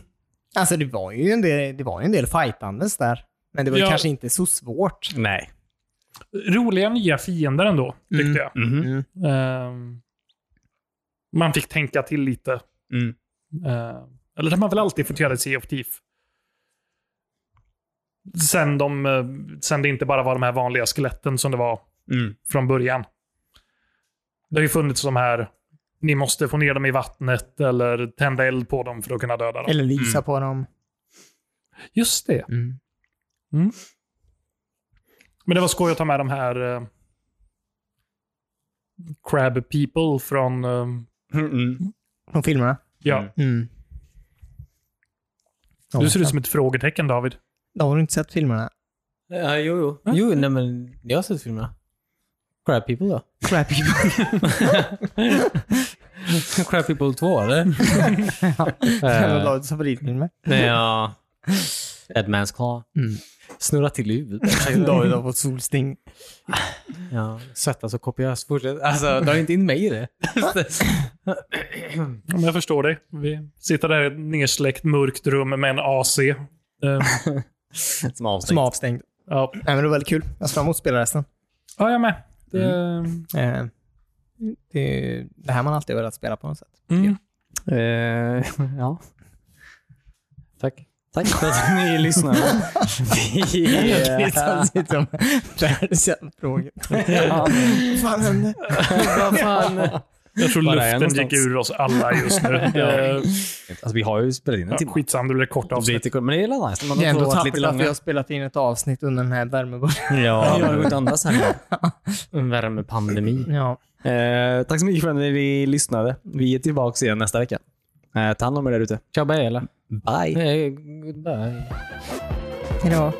S1: Alltså, det var ju en del, det var ju en del fightandes där. Men det var ju
S3: Ja.
S1: kanske inte så svårt.
S4: Nej.
S3: Roliga nya fiender ändå, tyckte
S1: Mm.
S3: jag.
S4: Mhm.
S1: Mm.
S3: Ehm, man fick tänka till lite.
S4: Mm.
S3: Ehm, eller det har man väl alltid fått göra i Sea of Thief. Sen, de, eh, sen det inte bara var de här vanliga skeletten som det var
S4: Mm.
S3: från början. Det har ju funnits de här, ni måste få ner dem i vattnet eller tända eld på dem för att kunna döda dem.
S1: Eller lysa på dem.
S3: Just det.
S1: Mm.
S3: Men det var skoj att ta med de här eh, Crab People från... eh,
S4: Mm.
S1: Från filmerna.
S3: ja.
S4: Mm.
S1: Mm.
S3: Du ser ut som ett frågetecken, David.
S1: Då har du inte sett filmerna.
S2: Ja, jo, jo. Jo, nej men jag har sett filmerna. Crab People då?
S1: Crap people.
S2: (laughs) Crab People 2 eller? (laughs)
S1: En av
S2: Eh,
S1: Davids favoritfilmer.
S2: nej, ja. Deadman's Claw.
S1: Mm.
S2: Snurra till i huvudet.
S1: David har fått solsting.
S2: Ja, svettas och kopiöst. Fortsätt. Alltså, dra inte in mig i det. (laughs)
S3: Om jag förstår dig. Vi sitter där i ett nersläckt mörkt rum med en AC.
S4: (laughs)
S3: Eh,
S4: Som avsnitt.
S1: Som är avstängd.
S3: ja.
S1: Nej, men det var väldigt kul. Jag ser fram emot att spela resten.
S3: ja, jag med. Det,
S4: Mm.
S1: Eh, det är ju det här man alltid har velat spela på något
S3: (laughs)
S1: sätt.
S3: mm.
S4: Eh, (laughs) ja. Tack. (laughs) Tack för att ni lyssnar. (laughs) Vi,
S1: Han sitter (laughs) och världsfrågor.
S4: ja.
S1: Vad fan hände?
S2: Vad fan?
S3: Jag tror
S4: Var är jag
S3: luften gick
S4: någonstans?
S3: ur oss alla just nu.
S4: (laughs)
S3: Eh,
S4: Alltså, vi har ju spelat in en
S3: ja,
S4: timme.
S3: skitsam, det blev kort
S4: Det är
S3: avsnitt.
S4: lite kul, men det är väl nice. när Man
S1: Det är
S4: har
S1: ändå
S4: provat lite
S1: tappert att vi
S4: långa.
S1: har spelat in ett avsnitt under den här värmebollen.
S4: Ja, det går inte att andas här inne.
S2: En värmepandemi.
S1: Ja.
S4: Eh, tack så mycket för att ni lyssnade. Vi är tillbaka igen nästa vecka. Eh, ta hand om er där ute.
S2: Tjabba eller?
S4: Bye!
S2: Nej, goodbye.
S1: Hejdå.